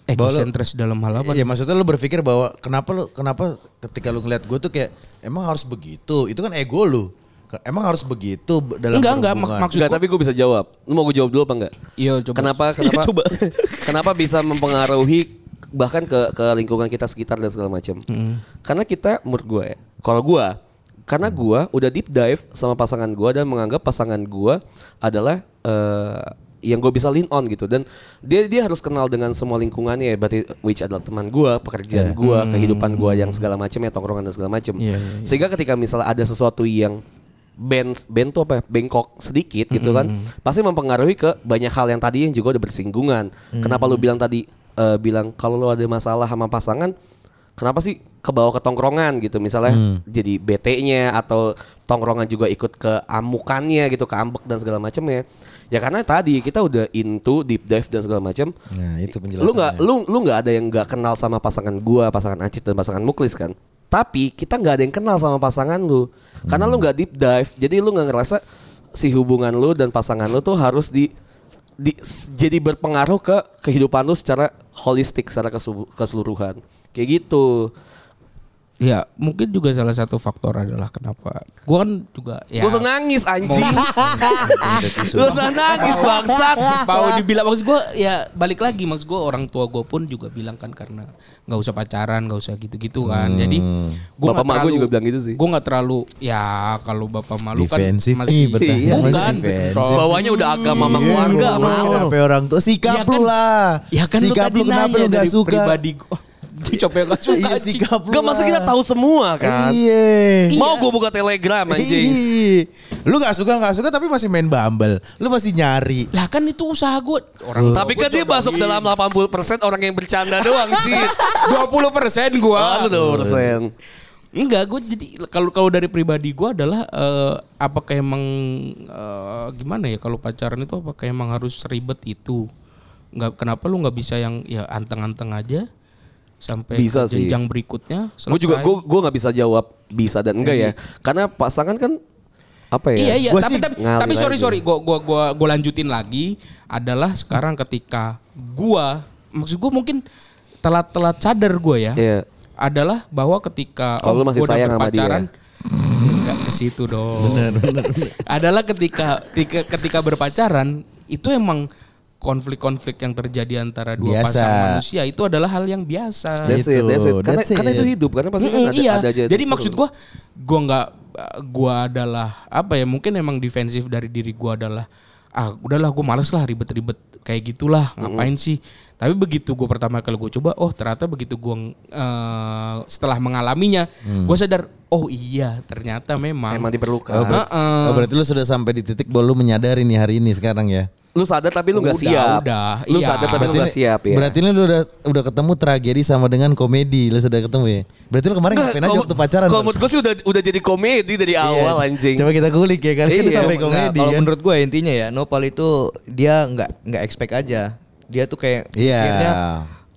[SPEAKER 3] egosentris Eh, dalam hal apa
[SPEAKER 4] Iya maksudnya lu berpikir bahwa kenapa lu kenapa ketika lu ngeliat gue tuh kayak emang harus begitu itu kan ego lu Ke- emang harus begitu b- dalam
[SPEAKER 3] Enggak, enggak,
[SPEAKER 4] berhubungan.
[SPEAKER 3] mak- maksud
[SPEAKER 2] Enggak, tapi gue bisa jawab. Lu mau gue jawab dulu apa enggak?
[SPEAKER 3] Iya, coba.
[SPEAKER 2] Kenapa kenapa kenapa bisa mempengaruhi bahkan ke ke lingkungan kita sekitar dan segala macam. Karena kita menurut gue ya. Kalau gue
[SPEAKER 3] Mm.
[SPEAKER 2] karena gue udah deep dive sama pasangan gue dan menganggap pasangan gue adalah eh, yang gue bisa lean on gitu dan dia dia harus kenal dengan semua lingkungannya ya berarti which adalah teman gue pekerjaan gue
[SPEAKER 3] Mm.
[SPEAKER 2] kehidupan gue yang segala macam ya tongkrongan dan segala macam
[SPEAKER 3] Iya, iya,
[SPEAKER 2] sehingga ketika misalnya ada sesuatu yang band band tuh apa ya, bengkok sedikit gitu kan pasti mempengaruhi ke banyak hal yang tadi yang juga udah bersinggungan kenapa lu bilang tadi eh, bilang kalau lu ada masalah sama pasangan kenapa sih ke bawah ke tongkrongan gitu misalnya jadi BT-nya atau tongkrongan juga ikut ke amukannya gitu ke ambek dan segala macam ya ya karena tadi kita udah into deep dive dan segala macam
[SPEAKER 4] Nah itu penjelasannya.
[SPEAKER 2] lu nggak lu lu nggak ada yang nggak kenal sama pasangan gua pasangan Acit dan pasangan Muklis kan tapi kita nggak ada yang kenal sama pasangan lu karena
[SPEAKER 4] Hmm.
[SPEAKER 2] lu nggak deep dive jadi lu nggak ngerasa si hubungan lu dan pasangan lu tuh harus di, di s- jadi berpengaruh ke kehidupan lu secara holistik secara kesu- keseluruhan kayak gitu
[SPEAKER 3] Ya mungkin juga salah satu faktor adalah kenapa Gue kan juga ya
[SPEAKER 2] Gua usah nangis anjing Gua usah nangis bangsat
[SPEAKER 3] Mau dibilang maksud gue ya balik lagi Maksud gue orang tua gue pun juga bilang kan karena nggak usah pacaran nggak usah gitu-gitu kan
[SPEAKER 4] Hmm.
[SPEAKER 3] Jadi gue
[SPEAKER 2] Bapak mak gua juga bilang gitu sih.
[SPEAKER 3] Gue gak terlalu ya kalau bapak malu
[SPEAKER 4] Defensif nih,
[SPEAKER 3] kan masih
[SPEAKER 4] bertahan.
[SPEAKER 3] Bukan
[SPEAKER 4] Masih defensif.
[SPEAKER 3] Bro.
[SPEAKER 2] bawahnya udah agama sama
[SPEAKER 4] Iya,
[SPEAKER 2] keluarga
[SPEAKER 4] ngomongin
[SPEAKER 2] males
[SPEAKER 4] apa ya orang tua sikap
[SPEAKER 3] Ya kan-
[SPEAKER 4] lu lah.
[SPEAKER 3] Ya kan lu
[SPEAKER 4] sikap
[SPEAKER 3] tadi
[SPEAKER 4] lu kenapa
[SPEAKER 3] nanya
[SPEAKER 4] lu nggak
[SPEAKER 3] dari
[SPEAKER 4] suka?
[SPEAKER 3] pribadi gua. Coba yang gak suka
[SPEAKER 4] Iya
[SPEAKER 3] anjing.
[SPEAKER 4] sikap lu.
[SPEAKER 2] Gak masa
[SPEAKER 4] lah.
[SPEAKER 2] kita tahu semua kan
[SPEAKER 4] Iya.
[SPEAKER 2] Mau gue buka telegram anjing
[SPEAKER 4] Ih, Lu gak suka gak suka tapi masih main bumble. Lu masih nyari.
[SPEAKER 3] Lah kan itu usaha gue Orang
[SPEAKER 2] Tapi kan dia masuk dalam 80% orang yang bercanda doang sih.
[SPEAKER 3] 20% gue
[SPEAKER 2] Oh, persen.
[SPEAKER 3] Enggak, gue jadi kalau kalau dari pribadi gue adalah eh, apakah emang eh, gimana ya kalau pacaran itu apakah emang harus ribet itu? Enggak, kenapa lu nggak bisa yang ya anteng-anteng aja sampai
[SPEAKER 2] Bisa
[SPEAKER 3] ke
[SPEAKER 2] sih.
[SPEAKER 3] jenjang berikutnya?
[SPEAKER 2] Gue juga
[SPEAKER 3] selesai?
[SPEAKER 2] gue gue nggak bisa jawab bisa dan enggak ya. Karena pasangan kan apa ya?
[SPEAKER 3] Iya iya,
[SPEAKER 4] Gua
[SPEAKER 3] tapi
[SPEAKER 4] sih
[SPEAKER 3] tapi,
[SPEAKER 2] ngalir
[SPEAKER 3] tapi sorry
[SPEAKER 2] aja.
[SPEAKER 3] sorry, gua gua gua gua lanjutin lagi adalah sekarang ketika gua maksud gua mungkin telat-telat sadar gua ya.
[SPEAKER 2] Iya.
[SPEAKER 3] Adalah bahwa ketika
[SPEAKER 2] Kalau lu masih
[SPEAKER 3] gua udah
[SPEAKER 2] sayang sama dia.
[SPEAKER 3] berpacaran, Enggak ke situ dong. Adalah ketika ketika ketika berpacaran itu emang konflik-konflik yang terjadi antara
[SPEAKER 4] Biasa.
[SPEAKER 3] dua pasang manusia itu adalah hal yang biasa.
[SPEAKER 2] That's it,
[SPEAKER 4] Gitu,
[SPEAKER 2] that's it. Karena,
[SPEAKER 4] that's
[SPEAKER 2] karena
[SPEAKER 4] it.
[SPEAKER 2] itu hidup, karena pasangan
[SPEAKER 3] Mm-mm,
[SPEAKER 2] Kan ada,
[SPEAKER 3] iya.
[SPEAKER 2] ada aja. gitu
[SPEAKER 3] Jadi maksud gua gua nggak gua adalah apa ya? Mungkin emang defensif dari diri gua adalah ah udahlah gua males lah ribet-ribet kayak gitulah ngapain sih. Tapi begitu gua pertama kali gua coba, oh ternyata begitu gua eh, setelah mengalaminya, gua sadar oh iya ternyata memang
[SPEAKER 2] emang diperlukan.
[SPEAKER 4] Oh, ber-
[SPEAKER 3] Heeh.
[SPEAKER 4] oh, berarti lu sudah sampai di titik bahwa lu menyadari nih hari ini sekarang ya.
[SPEAKER 2] Lu sadar tapi lu nggak
[SPEAKER 3] Udah,
[SPEAKER 2] siap.
[SPEAKER 3] udah,
[SPEAKER 2] Lu
[SPEAKER 3] iya.
[SPEAKER 2] sadar tapi lu
[SPEAKER 3] Berarti-
[SPEAKER 2] nggak siap ya.
[SPEAKER 4] Berarti lu udah udah ketemu tragedi sama dengan komedi. Lu sudah ketemu ya. Berarti lu kemarin ngapain aja waktu pacaran?
[SPEAKER 2] Kalau
[SPEAKER 4] Bang?
[SPEAKER 2] menurut gue sih udah udah jadi komedi dari
[SPEAKER 4] Iya,
[SPEAKER 2] awal anjing.
[SPEAKER 4] Coba kita kulik ya kan. Kita
[SPEAKER 2] Iya,
[SPEAKER 4] sampai
[SPEAKER 2] nggak,
[SPEAKER 5] Nggak,
[SPEAKER 4] komedi
[SPEAKER 5] Nah, kalau
[SPEAKER 4] kan.
[SPEAKER 5] menurut gue intinya ya Nopal itu dia nggak nggak expect aja. Dia tuh kayak
[SPEAKER 4] Iya.
[SPEAKER 5] akhirnya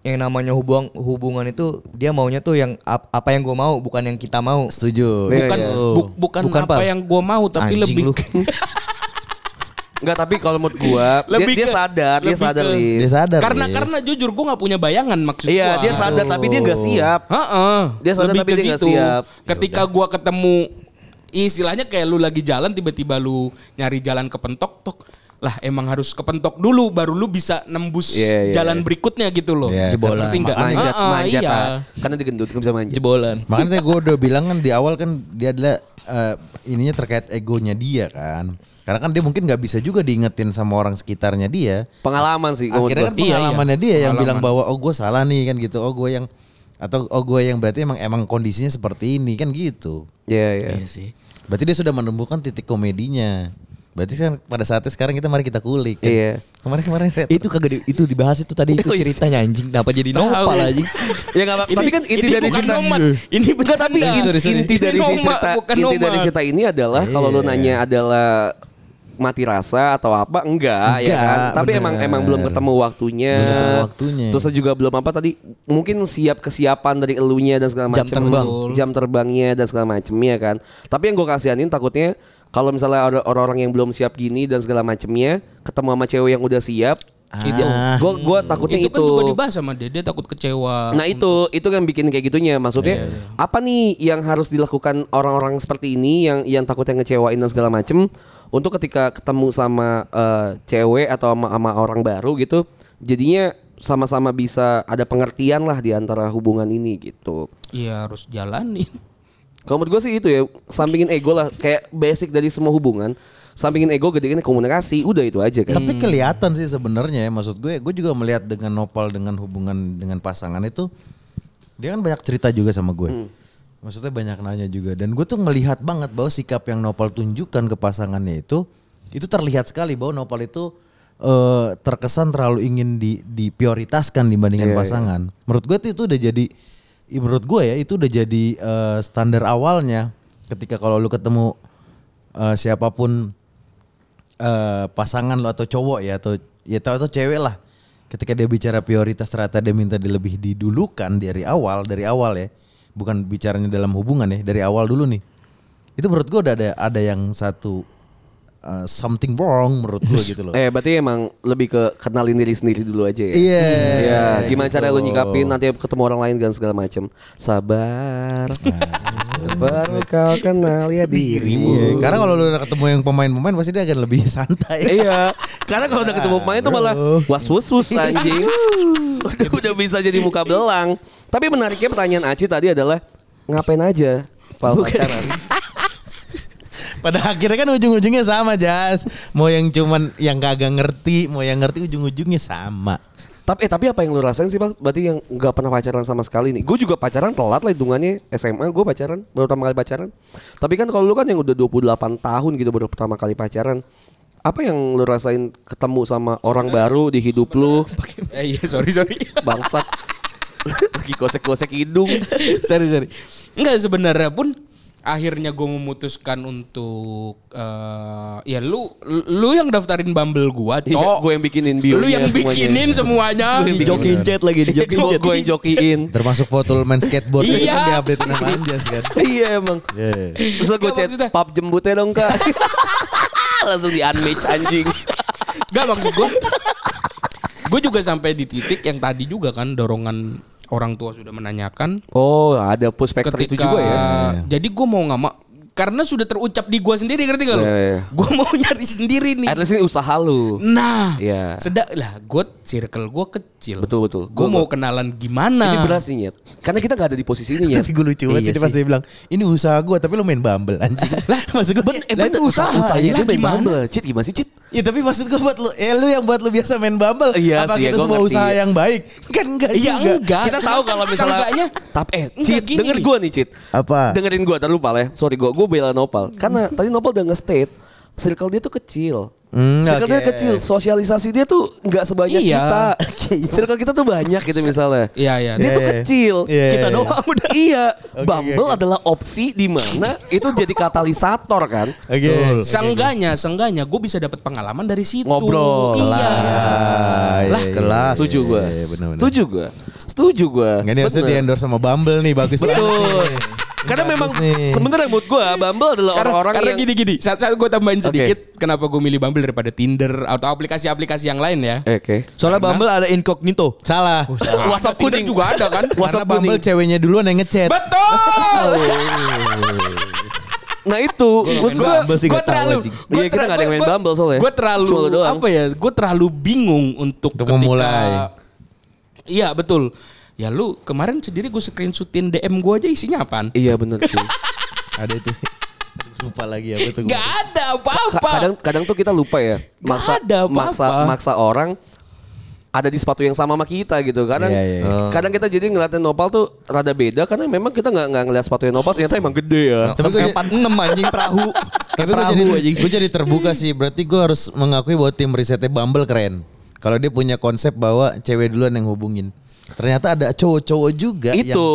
[SPEAKER 5] yang namanya hubungan hubungan itu dia maunya tuh yang ap- apa yang gue mau bukan yang kita mau.
[SPEAKER 4] Setuju.
[SPEAKER 3] bukan
[SPEAKER 2] Iya,
[SPEAKER 4] ya.
[SPEAKER 2] iya.
[SPEAKER 3] bu- bukan,
[SPEAKER 5] Bukan,
[SPEAKER 3] apa
[SPEAKER 5] Pal.
[SPEAKER 3] yang gua mau tapi
[SPEAKER 5] Anjing
[SPEAKER 3] lebih
[SPEAKER 5] lu.
[SPEAKER 2] Enggak, tapi kalau menurut gua dia,
[SPEAKER 3] Lebih
[SPEAKER 2] dia
[SPEAKER 3] ke-
[SPEAKER 2] sadar, dia
[SPEAKER 3] lebih
[SPEAKER 2] sadar
[SPEAKER 3] ke-
[SPEAKER 2] Lis.
[SPEAKER 4] Dia sadar. ya,
[SPEAKER 3] karena
[SPEAKER 4] Riz.
[SPEAKER 3] karena jujur gua nggak punya bayangan maksud
[SPEAKER 2] Iya,
[SPEAKER 3] gua.
[SPEAKER 2] dia sadar tapi dia nggak siap.
[SPEAKER 3] Heeh.
[SPEAKER 2] Dia sadar
[SPEAKER 3] Lebih
[SPEAKER 2] tapi
[SPEAKER 3] ke
[SPEAKER 2] dia nggak
[SPEAKER 3] situ.
[SPEAKER 2] siap. Ya
[SPEAKER 3] Ketika gua ketemu istilahnya kayak lu lagi jalan tiba-tiba lu nyari jalan kepentok tok. lah emang harus kepentok dulu baru lu bisa nembus
[SPEAKER 2] Iya, iya, iya.
[SPEAKER 3] jalan berikutnya gitu loh.
[SPEAKER 4] Iya,
[SPEAKER 5] jebolan.
[SPEAKER 3] Seperti nggak-
[SPEAKER 2] manjat,
[SPEAKER 3] Ah, ah,
[SPEAKER 2] manjat,
[SPEAKER 3] iya.
[SPEAKER 2] ah. karena digendut nggak bisa manjat.
[SPEAKER 5] Jebolan.
[SPEAKER 4] Makanya gue udah bilang kan di awal kan dia adalah eh, ininya terkait egonya dia kan. Karena kan dia mungkin nggak bisa juga diingetin sama orang sekitarnya dia.
[SPEAKER 2] Pengalaman sih. kalau
[SPEAKER 4] Akhirnya kan
[SPEAKER 2] menurut
[SPEAKER 3] Iya, iya.
[SPEAKER 4] pengalamannya dia yang
[SPEAKER 3] Pengalaman.
[SPEAKER 4] bilang bahwa oh gue salah nih kan gitu. Oh gue yang atau oh gue yang berarti emang emang kondisinya seperti ini kan gitu.
[SPEAKER 2] gua. Iya iya.
[SPEAKER 4] sih. Berarti dia sudah menemukan titik komedinya. Berarti kan pada saatnya sekarang kita mari kita kulik. kan.
[SPEAKER 2] Iya.
[SPEAKER 4] Kemarin-kemarin Red.
[SPEAKER 5] Itu kagak di- itu dibahas itu tadi itu ceritanya anjing. Kenapa jadi nopal anjing?
[SPEAKER 2] Ya nggak apa-apa. Tapi kan inti dari
[SPEAKER 3] bukan
[SPEAKER 2] cerita
[SPEAKER 3] nomat. Ini betul
[SPEAKER 2] tapi inti, inti dari si cerita inti dari cerita ini adalah kalau lu nanya adalah mati rasa atau apa enggak, ya
[SPEAKER 4] Enggak,
[SPEAKER 2] kan tapi
[SPEAKER 4] bener.
[SPEAKER 2] emang emang belum ketemu waktunya
[SPEAKER 4] Belum ketemu waktunya.
[SPEAKER 2] terus juga belum apa tadi mungkin siap kesiapan dari elunya dan segala macam
[SPEAKER 5] Jam terbang.
[SPEAKER 2] jam terbangnya dan segala macamnya kan tapi yang gue kasihanin takutnya kalau misalnya ada orang-orang yang belum siap gini dan segala macamnya ketemu sama cewek yang udah siap itu gue gue takutnya
[SPEAKER 3] itu
[SPEAKER 2] itu,
[SPEAKER 3] kan juga dibahas sama dia, dia takut kecewa.
[SPEAKER 2] Nah itu itu kan bikin kayak gitunya maksudnya apa nih yang harus dilakukan orang-orang seperti ini yang yang takutnya ngecewain dan segala macem untuk ketika ketemu sama eh, cewek atau sama, sama orang baru gitu jadinya sama-sama bisa ada pengertian lah di antara hubungan ini gitu.
[SPEAKER 3] Iya harus jalanin.
[SPEAKER 2] Kalau menurut gue sih itu ya sampingin ego lah kayak basic dari semua hubungan sampingin ego gedein komunikasi udah itu aja kan.
[SPEAKER 4] Tapi kelihatan sih sebenarnya ya maksud gue, gue juga melihat dengan Nopal dengan hubungan dengan pasangan itu dia kan banyak cerita juga sama gue. Maksudnya banyak nanya juga dan gue tuh melihat banget bahwa sikap yang Nopal tunjukkan ke pasangannya itu itu terlihat sekali bahwa Nopal itu eh, terkesan terlalu ingin di diprioritaskan dibandingkan pasangan. Menurut gue tuh itu udah jadi i- menurut gue ya itu udah jadi eh, standar awalnya ketika kalau lu ketemu eh, siapapun eh pasangan lo atau cowok ya atau ya atau, atau cewek lah ketika dia bicara prioritas ternyata dia minta dia lebih didulukan dari awal dari awal ya bukan bicaranya dalam hubungan ya dari awal dulu nih itu menurut gue udah ada ada yang satu eh, something wrong menurut gue gitu loh
[SPEAKER 2] Eh berarti emang lebih ke kenalin diri sendiri dulu aja ya.
[SPEAKER 4] Iya,
[SPEAKER 2] Iya, gimana cara lu nyikapin nanti ketemu orang lain dan segala macam. Sabar. Baru kau kenal ya dirimu.
[SPEAKER 4] Iya, karena kalau lu udah ketemu yang pemain-pemain pasti dia akan lebih santai
[SPEAKER 2] Iya, karena kalau udah ketemu pemain tuh malah was was was anjing. udah, udah bisa jadi muka belang. Tapi menariknya pertanyaan Aci tadi adalah ngapain aja pal pacaran?
[SPEAKER 4] Pada akhirnya kan ujung-ujungnya sama Jas Mau yang cuman yang kagak ngerti Mau yang ngerti ujung-ujungnya sama
[SPEAKER 2] Tapi eh, tapi apa yang lu rasain sih bang? Berarti yang nggak pernah pacaran sama sekali nih. Gue juga pacaran telat lah hitungannya SMA gue pacaran baru pertama kali pacaran. Tapi kan kalau lu kan yang udah 28 tahun gitu baru pertama kali pacaran. Apa yang lu rasain ketemu sama orang baru di hidup lu?
[SPEAKER 3] eh, iya sorry sorry.
[SPEAKER 2] Bangsat. Lagi gosek-gosek hidung.
[SPEAKER 3] sorry sorry. Enggak sebenarnya pun akhirnya gue memutuskan untuk eh, ya lu lu yang daftarin Bumble gua,
[SPEAKER 2] Iya,
[SPEAKER 3] cok.
[SPEAKER 2] gua yang bikinin bio-nya
[SPEAKER 3] Lu yang
[SPEAKER 2] semuanya.
[SPEAKER 3] bikinin ah. semuanya. Gitu.
[SPEAKER 2] Gua yang bikin.
[SPEAKER 5] Jokin chat lagi di jokin chat.
[SPEAKER 2] Gue yang jokiin.
[SPEAKER 4] Termasuk foto lu main skateboard
[SPEAKER 3] Iya.
[SPEAKER 4] itu kan diupdate nama Anjas kan.
[SPEAKER 2] Iya emang. Terus gue
[SPEAKER 3] Nggak,
[SPEAKER 2] chat
[SPEAKER 3] maksudnya-
[SPEAKER 2] pap jembutnya dong kak. Langsung di unmatch anjing.
[SPEAKER 3] Gak maksud gue Gue juga sampai di titik yang tadi juga kan Dorongan orang tua sudah menanyakan
[SPEAKER 2] Oh ada push factor itu
[SPEAKER 3] Ketika
[SPEAKER 2] juga ya.
[SPEAKER 3] Jadi gue mau gak mau Karena sudah terucap di gue sendiri ngerti gak lo?
[SPEAKER 2] Iya, iya.
[SPEAKER 3] Gue mau nyari sendiri nih
[SPEAKER 2] At least ini usaha lu.
[SPEAKER 3] Nah
[SPEAKER 2] Iya.
[SPEAKER 3] Sedak lah Gue circle gue kecil
[SPEAKER 2] Betul, betul.
[SPEAKER 3] Gue
[SPEAKER 2] Gua-
[SPEAKER 3] mau kenalan gimana
[SPEAKER 2] Ini berat sih Nyet. Karena kita gak ada di posisi ini ya.
[SPEAKER 4] Tapi gue lucu banget sih dia pas dia bilang ini usaha gue tapi lu main bumble anjing. lah maksud gue
[SPEAKER 3] eh,
[SPEAKER 4] lah,
[SPEAKER 3] bener,
[SPEAKER 4] itu usaha.
[SPEAKER 2] Usahanya
[SPEAKER 3] Lah,
[SPEAKER 2] dia main
[SPEAKER 3] gimana?
[SPEAKER 2] Bumble. Cit gimana sih Cit?
[SPEAKER 4] Ya tapi maksud gue buat lu, ya lu yang buat lu biasa main bumble.
[SPEAKER 2] Iya
[SPEAKER 4] Apa
[SPEAKER 2] sih, ya,
[SPEAKER 4] itu
[SPEAKER 2] gua
[SPEAKER 4] sebuah
[SPEAKER 2] ngerti,
[SPEAKER 4] usaha
[SPEAKER 2] ya.
[SPEAKER 4] yang baik? Kan enggak
[SPEAKER 3] Iya
[SPEAKER 4] juga.
[SPEAKER 3] enggak
[SPEAKER 2] Kita
[SPEAKER 3] Cuma
[SPEAKER 2] tahu
[SPEAKER 3] kan
[SPEAKER 2] kalau misalnya
[SPEAKER 3] seenggaknya,
[SPEAKER 2] Tapi eh
[SPEAKER 3] enggak
[SPEAKER 2] Cit
[SPEAKER 3] gini
[SPEAKER 2] denger
[SPEAKER 3] nih.
[SPEAKER 2] gue nih Cit
[SPEAKER 4] Apa?
[SPEAKER 2] Dengerin gue Ntar lupa ya Sorry gue Gue bela
[SPEAKER 3] Hmm.
[SPEAKER 2] Nopal Karena tadi Nopal udah nge-state Circle dia tuh kecil
[SPEAKER 4] Hmm,
[SPEAKER 2] Circle dia
[SPEAKER 4] oke.
[SPEAKER 2] kecil Sosialisasi dia tuh Gak sebanyak
[SPEAKER 3] Iya.
[SPEAKER 2] kita Circle kita tuh banyak gitu misalnya
[SPEAKER 3] Iya, iya.
[SPEAKER 2] Dia tuh
[SPEAKER 4] Iya, iya.
[SPEAKER 2] kecil
[SPEAKER 4] Iya,
[SPEAKER 2] Kita
[SPEAKER 4] iya.
[SPEAKER 2] doang udah Iya
[SPEAKER 4] Oke,
[SPEAKER 2] Bumble
[SPEAKER 4] oke, oke.
[SPEAKER 2] adalah opsi di mana Itu jadi katalisator kan
[SPEAKER 4] Oke.
[SPEAKER 3] Seenggaknya Seenggaknya Gue bisa dapat pengalaman dari situ
[SPEAKER 2] Ngobrol.
[SPEAKER 3] Iya
[SPEAKER 4] Ah,
[SPEAKER 3] Lah,
[SPEAKER 4] iya,
[SPEAKER 5] kelas.
[SPEAKER 4] iya,
[SPEAKER 2] Setuju
[SPEAKER 4] iya,
[SPEAKER 2] gue.
[SPEAKER 4] iya, benar-benar.
[SPEAKER 2] Setuju gue. Setuju gue.
[SPEAKER 4] Enggak ini harusnya di
[SPEAKER 2] Bener.
[SPEAKER 4] endorse sama Bumble nih bagus
[SPEAKER 2] Betul.
[SPEAKER 4] banget. nih.
[SPEAKER 2] Karena
[SPEAKER 4] Bagus
[SPEAKER 2] memang
[SPEAKER 4] iya. nih.
[SPEAKER 2] sebenarnya mood gue Bumble adalah orang-orang
[SPEAKER 3] karena
[SPEAKER 2] yang
[SPEAKER 3] gini-gini. Saat, saat gue tambahin
[SPEAKER 2] Oke.
[SPEAKER 3] sedikit, kenapa gue milih Bumble daripada Tinder atau aplikasi-aplikasi yang lain ya?
[SPEAKER 2] Eh, Oke.
[SPEAKER 5] Soalnya Bumble ada incognito.
[SPEAKER 4] Salah.
[SPEAKER 5] Oh,
[SPEAKER 2] Eh,
[SPEAKER 3] WhatsApp kuning juga ada kan?
[SPEAKER 4] Karena Bumble ceweknya duluan yang ngechat.
[SPEAKER 3] Betul.
[SPEAKER 2] nah itu maksud gue
[SPEAKER 5] Bumble sih
[SPEAKER 3] Gue
[SPEAKER 5] nggak tahu,
[SPEAKER 3] terlalu,
[SPEAKER 5] anjing.
[SPEAKER 2] Iya, kita nggak ada yang main Bumble soalnya.
[SPEAKER 3] Gue terlalu
[SPEAKER 2] Cuma lu doang.
[SPEAKER 3] apa ya? Gue terlalu bingung untuk
[SPEAKER 4] Untuk memulai.
[SPEAKER 3] Iya betul. Ya lu kemarin sendiri gue screenshotin DM gue aja isinya apaan?
[SPEAKER 2] iya bener sih
[SPEAKER 4] Ada itu. Lupa lagi apa tuh.
[SPEAKER 3] Gak ada apa-apa.
[SPEAKER 2] Ka- kadang kadang tuh kita lupa ya maksa
[SPEAKER 3] ada apa-apa.
[SPEAKER 2] maksa maksa orang ada di sepatu yang sama sama kita gitu kadang
[SPEAKER 4] Iya, iya,
[SPEAKER 2] kadang kita jadi ngeliatin nopal tuh rada beda karena memang kita nggak nggak ngeliat sepatu yang nopal ternyata emang gede ya
[SPEAKER 4] Tapi gue
[SPEAKER 5] Empat enam anjing perahu.
[SPEAKER 4] Tapi gue jadi, gue jadi terbuka sih. Berarti gue harus mengakui bahwa tim risetnya Bumble keren. Kalau dia punya konsep bahwa cewek duluan yang hubungin. Ternyata ada cowok-cowok juga. yang-
[SPEAKER 2] itu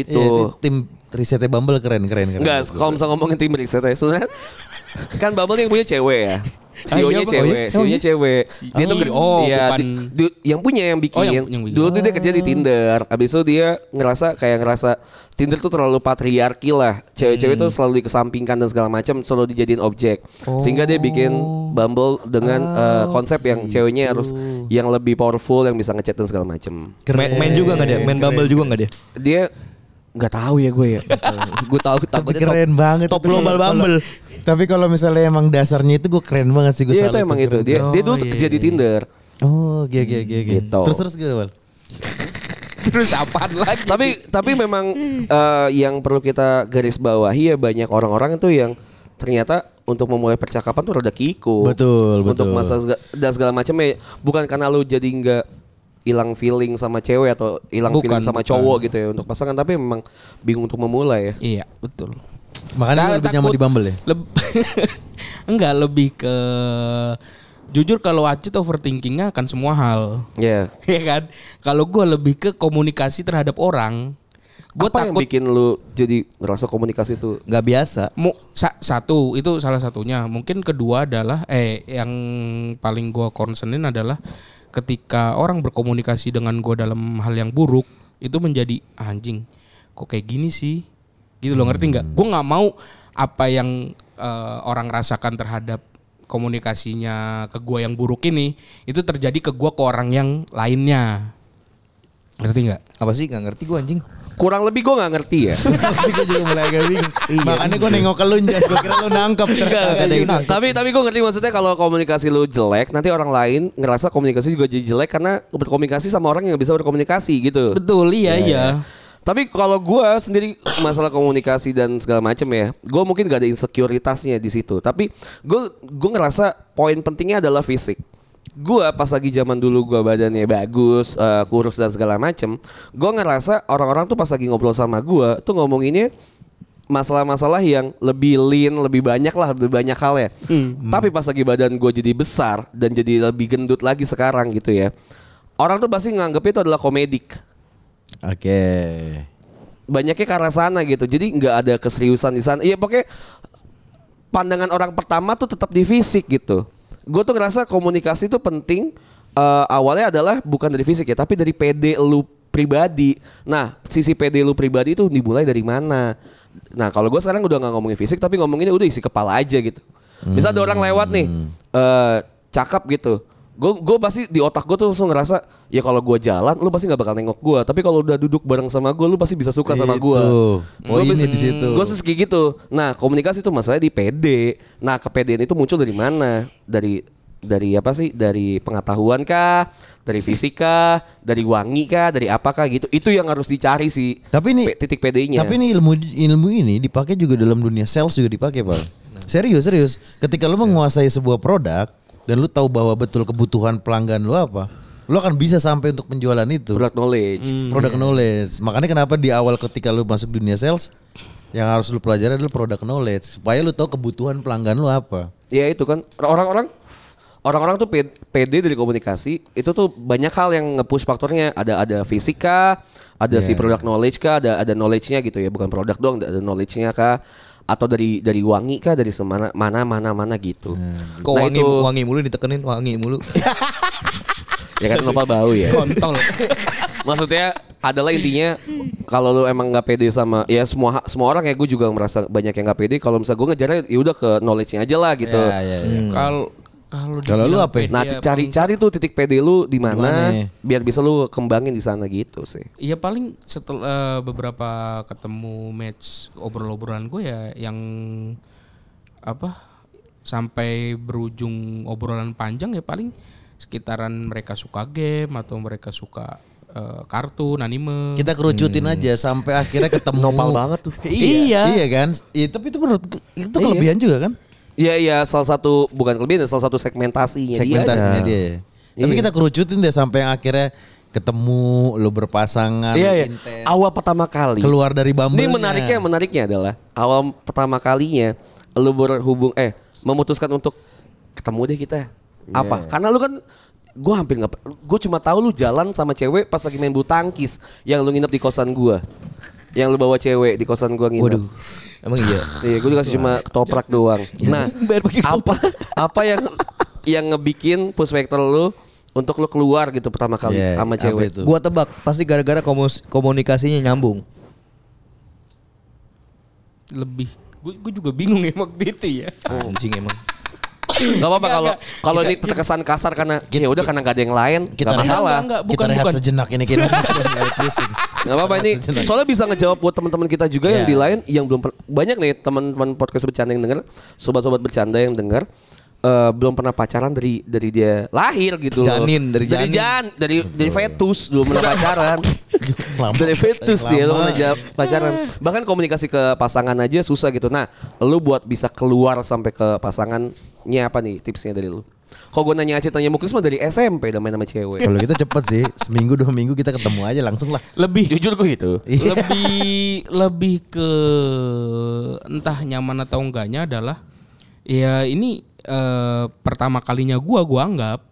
[SPEAKER 2] itu
[SPEAKER 4] Iya, tim risetnya Bumble keren keren keren.
[SPEAKER 2] Enggak, kalau misalnya ngomongin tim riset ya, sebenarnya kan Bumble yang punya cewek ya.
[SPEAKER 4] iya,
[SPEAKER 2] CEO-nya
[SPEAKER 4] Bang.
[SPEAKER 2] cewek,
[SPEAKER 4] Oh, iya?
[SPEAKER 2] CEO-nya cewek. Dia tuh
[SPEAKER 3] CEO,
[SPEAKER 2] iya,
[SPEAKER 3] bukan-
[SPEAKER 2] di- du- yang punya yang bikin.
[SPEAKER 3] Oh, yang- yang bikin.
[SPEAKER 2] Dulu tuh dia kerja di Tinder. Abis itu dia ngerasa kayak ngerasa Tinder tuh terlalu patriarki lah. Cewek-cewek tuh selalu dikesampingkan dan segala macam, selalu dijadiin objek. Sehingga dia bikin Bumble dengan eh, konsep yang ceweknya harus yang lebih powerful, yang bisa ngechat dan segala macam.
[SPEAKER 5] Main, main juga nggak dia? Main Bumble juga nggak dia?
[SPEAKER 2] Dia nggak tahu ya gue ya.
[SPEAKER 5] gue tahu
[SPEAKER 4] Tapi
[SPEAKER 5] takutnya
[SPEAKER 4] keren
[SPEAKER 5] top,
[SPEAKER 4] banget.
[SPEAKER 5] Top
[SPEAKER 4] itu.
[SPEAKER 5] global
[SPEAKER 4] Kalau-
[SPEAKER 5] Bumble.
[SPEAKER 4] Tapi kalau misalnya emang dasarnya itu gue keren banget sih gue
[SPEAKER 2] Dia Iya, itu
[SPEAKER 4] salut
[SPEAKER 2] emang
[SPEAKER 4] tuh,
[SPEAKER 2] itu.
[SPEAKER 4] keren.
[SPEAKER 2] Dia dia dulu tuh
[SPEAKER 3] Oh,
[SPEAKER 2] kerja di
[SPEAKER 3] iya.
[SPEAKER 2] Tinder.
[SPEAKER 4] Oh, gak gak gak gak.
[SPEAKER 2] Gitu.
[SPEAKER 4] Terus terus gue awal.
[SPEAKER 3] Terus apaan lagi?
[SPEAKER 2] tapi tapi memang eh, yang perlu kita garis bawahi ya banyak orang-orang itu yang ternyata untuk memulai percakapan tuh rada kiko.
[SPEAKER 4] Betul,
[SPEAKER 2] Untuk
[SPEAKER 4] betul.
[SPEAKER 2] masa sega- dan segala macam ya bukan karena lu jadi nggak hilang feeling sama cewek atau hilang
[SPEAKER 3] Bukan,
[SPEAKER 2] feeling sama
[SPEAKER 3] bukan.
[SPEAKER 2] cowok gitu ya untuk pasangan tapi memang bingung untuk memulai ya.
[SPEAKER 3] Iya betul.
[SPEAKER 4] Makanya
[SPEAKER 3] Ta-
[SPEAKER 4] lu lebih
[SPEAKER 3] Nah, takut-
[SPEAKER 4] nyaman di Bumble ya.
[SPEAKER 3] Leb- Enggak lebih ke jujur kalau Acit overthinkingnya akan semua hal.
[SPEAKER 2] Ya.
[SPEAKER 3] ya kan? Kalau gue lebih ke komunikasi terhadap orang. Gue
[SPEAKER 2] Apa yang
[SPEAKER 3] takut
[SPEAKER 2] bikin lu jadi ngerasa komunikasi itu
[SPEAKER 5] Gak biasa.
[SPEAKER 3] mu- sa- satu itu salah satunya. Mungkin kedua adalah eh yang paling gue concernin adalah ketika orang berkomunikasi dengan gue dalam hal yang buruk itu menjadi "Ah, anjing. Kok kayak gini sih? Gitu loh ngerti nggak? Gue nggak mau apa yang eh, orang rasakan terhadap komunikasinya ke gue yang buruk ini itu terjadi ke gue ke orang yang lainnya. Ngerti nggak?
[SPEAKER 5] Apa sih nggak ngerti gue anjing?
[SPEAKER 2] kurang lebih gue nggak ngerti ya.
[SPEAKER 4] Tapi gue juga mulai agak bingung. Makanya gue nengok ke lu Jas, gue kira lu nangkep. Ternyata
[SPEAKER 5] Nggak ada yang
[SPEAKER 4] gitu.
[SPEAKER 5] nangkep.
[SPEAKER 2] Iya, tapi tapi gue ngerti maksudnya kalau komunikasi lu jelek nanti orang lain ngerasa komunikasi juga jadi jelek karena berkomunikasi sama orang yang nggak bisa berkomunikasi gitu
[SPEAKER 3] Betul iya iya.
[SPEAKER 2] tapi kalau gue sendiri masalah komunikasi dan segala macem ya gue mungkin gak ada insecuritasnya di situ tapi gue gue ngerasa poin pentingnya adalah fisik gue pas lagi zaman dulu gue badannya bagus eh, kurus dan segala macem gue ngerasa orang-orang tuh pas lagi ngobrol sama gue tuh ngomonginnya masalah-masalah yang lebih lean, lebih banyak lah, lebih banyak hal ya. Tapi pas lagi badan gue jadi besar dan jadi lebih gendut lagi sekarang gitu ya. Orang tuh pasti nganggepnya itu adalah komedik.
[SPEAKER 4] Oke.
[SPEAKER 2] Banyaknya ke arah sana gitu. Jadi nggak ada keseriusan di sana. Iya pokoknya pandangan orang pertama tuh tetap di fisik gitu. Gue tuh ngerasa komunikasi tuh penting. eh, awalnya adalah bukan dari fisik ya, tapi dari PD lu pribadi. Nah, sisi PD lu pribadi itu dimulai dari mana? Nah, kalau gue sekarang udah nggak ngomongin fisik, tapi ngomonginnya udah isi kepala aja gitu. Misal ada orang lewat nih, eh cakep gitu. Gue gue pasti di otak gue tuh langsung ngerasa ya kalau gue jalan, lu pasti nggak bakal nengok gue. Tapi kalau udah duduk bareng sama gue, lu pasti bisa suka sama gue.
[SPEAKER 4] Itu.
[SPEAKER 2] Gua
[SPEAKER 4] Poinnya
[SPEAKER 2] bisa-
[SPEAKER 4] di situ.
[SPEAKER 2] Gua terus kayak gitu. Nah, komunikasi itu masalahnya di PD. Nah, kepedean itu muncul dari mana? Dari dari apa sih? Dari pengetahuan kah? Dari fisika, dari wangi kah, dari apakah gitu. Itu yang harus dicari sih.
[SPEAKER 4] Tapi ini-
[SPEAKER 2] Pe- titik PD-nya.
[SPEAKER 4] Tapi ini ilmu ilmu ini dipakai juga dalam dunia sales juga dipakai, Pak. Serius, serius. Ketika lu menguasai sebuah produk dan lu tahu bahwa betul kebutuhan pelanggan lu apa, lu akan bisa sampai untuk penjualan itu.
[SPEAKER 2] product knowledge.
[SPEAKER 4] Product knowledge. Makanya kenapa di awal ketika lu masuk dunia sales yang harus lu pelajari adalah product knowledge supaya lu tahu kebutuhan pelanggan lu apa.
[SPEAKER 2] Ya itu kan orang-orang orang-orang tuh P- PD dari komunikasi itu tuh banyak hal yang nge-push faktornya ada ada fisika, ada
[SPEAKER 5] Iya.
[SPEAKER 2] si product knowledge kah, ada ada knowledge-nya gitu ya, bukan produk doang, ada knowledge-nya kah atau dari dari wangi kah, dari semana mana mana mana gitu.
[SPEAKER 5] Kok
[SPEAKER 2] Nah,
[SPEAKER 5] Iya. wangi,
[SPEAKER 2] itu
[SPEAKER 5] wangi mulu ditekenin wangi mulu.
[SPEAKER 2] ya kan lupa bau ya.
[SPEAKER 3] Kontol.
[SPEAKER 2] Maksudnya adalah intinya kalau lu emang nggak pede sama ya semua semua orang ya gue juga merasa banyak yang nggak pede kalau misalnya gue ngejarnya ya udah ke knowledge-nya aja lah gitu.
[SPEAKER 5] Iya,
[SPEAKER 4] Ya, ya, ya.
[SPEAKER 3] Kalau kalau
[SPEAKER 4] Kalau lu
[SPEAKER 3] Hmm. dibilang
[SPEAKER 4] apa ya?
[SPEAKER 3] pede
[SPEAKER 2] Nah,
[SPEAKER 3] apa
[SPEAKER 2] cari-cari tuh titik PD lu di
[SPEAKER 4] Dimana?
[SPEAKER 2] mana biar bisa lu kembangin di sana gitu sih.
[SPEAKER 3] Iya paling eh, setelah beberapa ketemu match obrol-obrolan gue ya yang apa sampai berujung obrolan panjang ya paling sekitaran mereka suka game atau mereka suka eh, kartun anime
[SPEAKER 4] Kita kerucutin
[SPEAKER 5] Hmm.
[SPEAKER 4] aja sampai akhirnya ketemu.
[SPEAKER 2] Nopal banget tuh.
[SPEAKER 4] Iya. Iya kan? Iya, tapi itu menurut gue- itu kelebihan juga kan?
[SPEAKER 2] Iya iya salah satu bukan kelebihan ya, salah satu segmentasinya Iya, dia
[SPEAKER 4] Segmentasinya
[SPEAKER 2] ada.
[SPEAKER 4] dia. ya. Tapi
[SPEAKER 2] Iya.
[SPEAKER 4] kita kerucutin deh sampai yang akhirnya ketemu lu berpasangan
[SPEAKER 2] Iya
[SPEAKER 4] lu
[SPEAKER 2] iya.
[SPEAKER 4] intens,
[SPEAKER 2] Awal pertama kali.
[SPEAKER 4] keluar dari bumble
[SPEAKER 2] Ini menariknya menariknya adalah awal pertama kalinya lu berhubung eh memutuskan untuk ketemu deh kita.
[SPEAKER 4] Iya.
[SPEAKER 2] Apa? Karena lu kan gue hampir nggak gue cuma tahu lu jalan sama cewek pas lagi main bulu tangkis yang lu nginep di kosan gua. Yang lu bawa cewek di kosan gua nginep.
[SPEAKER 5] Waduh. Emang iya.
[SPEAKER 2] Gitu. Iya, gue dikasih cuma ketoprak doang. Nah,
[SPEAKER 5] Bayar pakai
[SPEAKER 2] apa apa yang yang ngebikin push factor lu untuk lu keluar gitu pertama kali
[SPEAKER 4] Iya,
[SPEAKER 2] sama
[SPEAKER 4] apa
[SPEAKER 2] cewek?
[SPEAKER 4] itu?
[SPEAKER 5] Gua tebak pasti gara-gara komus- komunikasinya nyambung.
[SPEAKER 3] lebih gue juga bingung ya waktu itu ya
[SPEAKER 5] Anjing emang.
[SPEAKER 2] Gak apa-apa kalau
[SPEAKER 3] Enggak, enggak.
[SPEAKER 2] kalau ini terkesan kasar karena ya udah karena gak ada yang lain, kita
[SPEAKER 4] kita
[SPEAKER 2] gak masalah.
[SPEAKER 3] enggak,
[SPEAKER 4] kita
[SPEAKER 3] bukan,
[SPEAKER 4] rehat
[SPEAKER 3] bukan.
[SPEAKER 4] sejenak ini kita sudah mulai pusing.
[SPEAKER 2] Gak apa-apa ini soalnya bisa ngejawab buat teman-teman kita juga yang di lain yang belum per- banyak nih teman-teman podcast bercanda yang denger, sobat-sobat bercanda yang denger eh, belum pernah pacaran dari dari dia lahir gitu loh.
[SPEAKER 5] Janin, dari
[SPEAKER 2] dari
[SPEAKER 5] janin.
[SPEAKER 2] jan, dari dari fetus belum pernah pacaran.
[SPEAKER 4] Lama.
[SPEAKER 2] Dari fetus
[SPEAKER 4] Lama.
[SPEAKER 2] dia lu pernah jawab pacaran. Bahkan komunikasi ke pasangan aja susah gitu. Nah, lu buat bisa keluar sampai ke pasangannya apa nih tipsnya dari lu? Kalau gue nanya Acit nanya Muklis mah dari SMP udah main sama cewek.
[SPEAKER 4] Kalau kita cepet sih, seminggu dua minggu kita ketemu aja langsung lah. Iya.
[SPEAKER 3] lebih
[SPEAKER 2] Jujur gue gitu.
[SPEAKER 3] lebih lebih ke entah nyaman atau enggaknya adalah ya ini eh, pertama kalinya gua gua anggap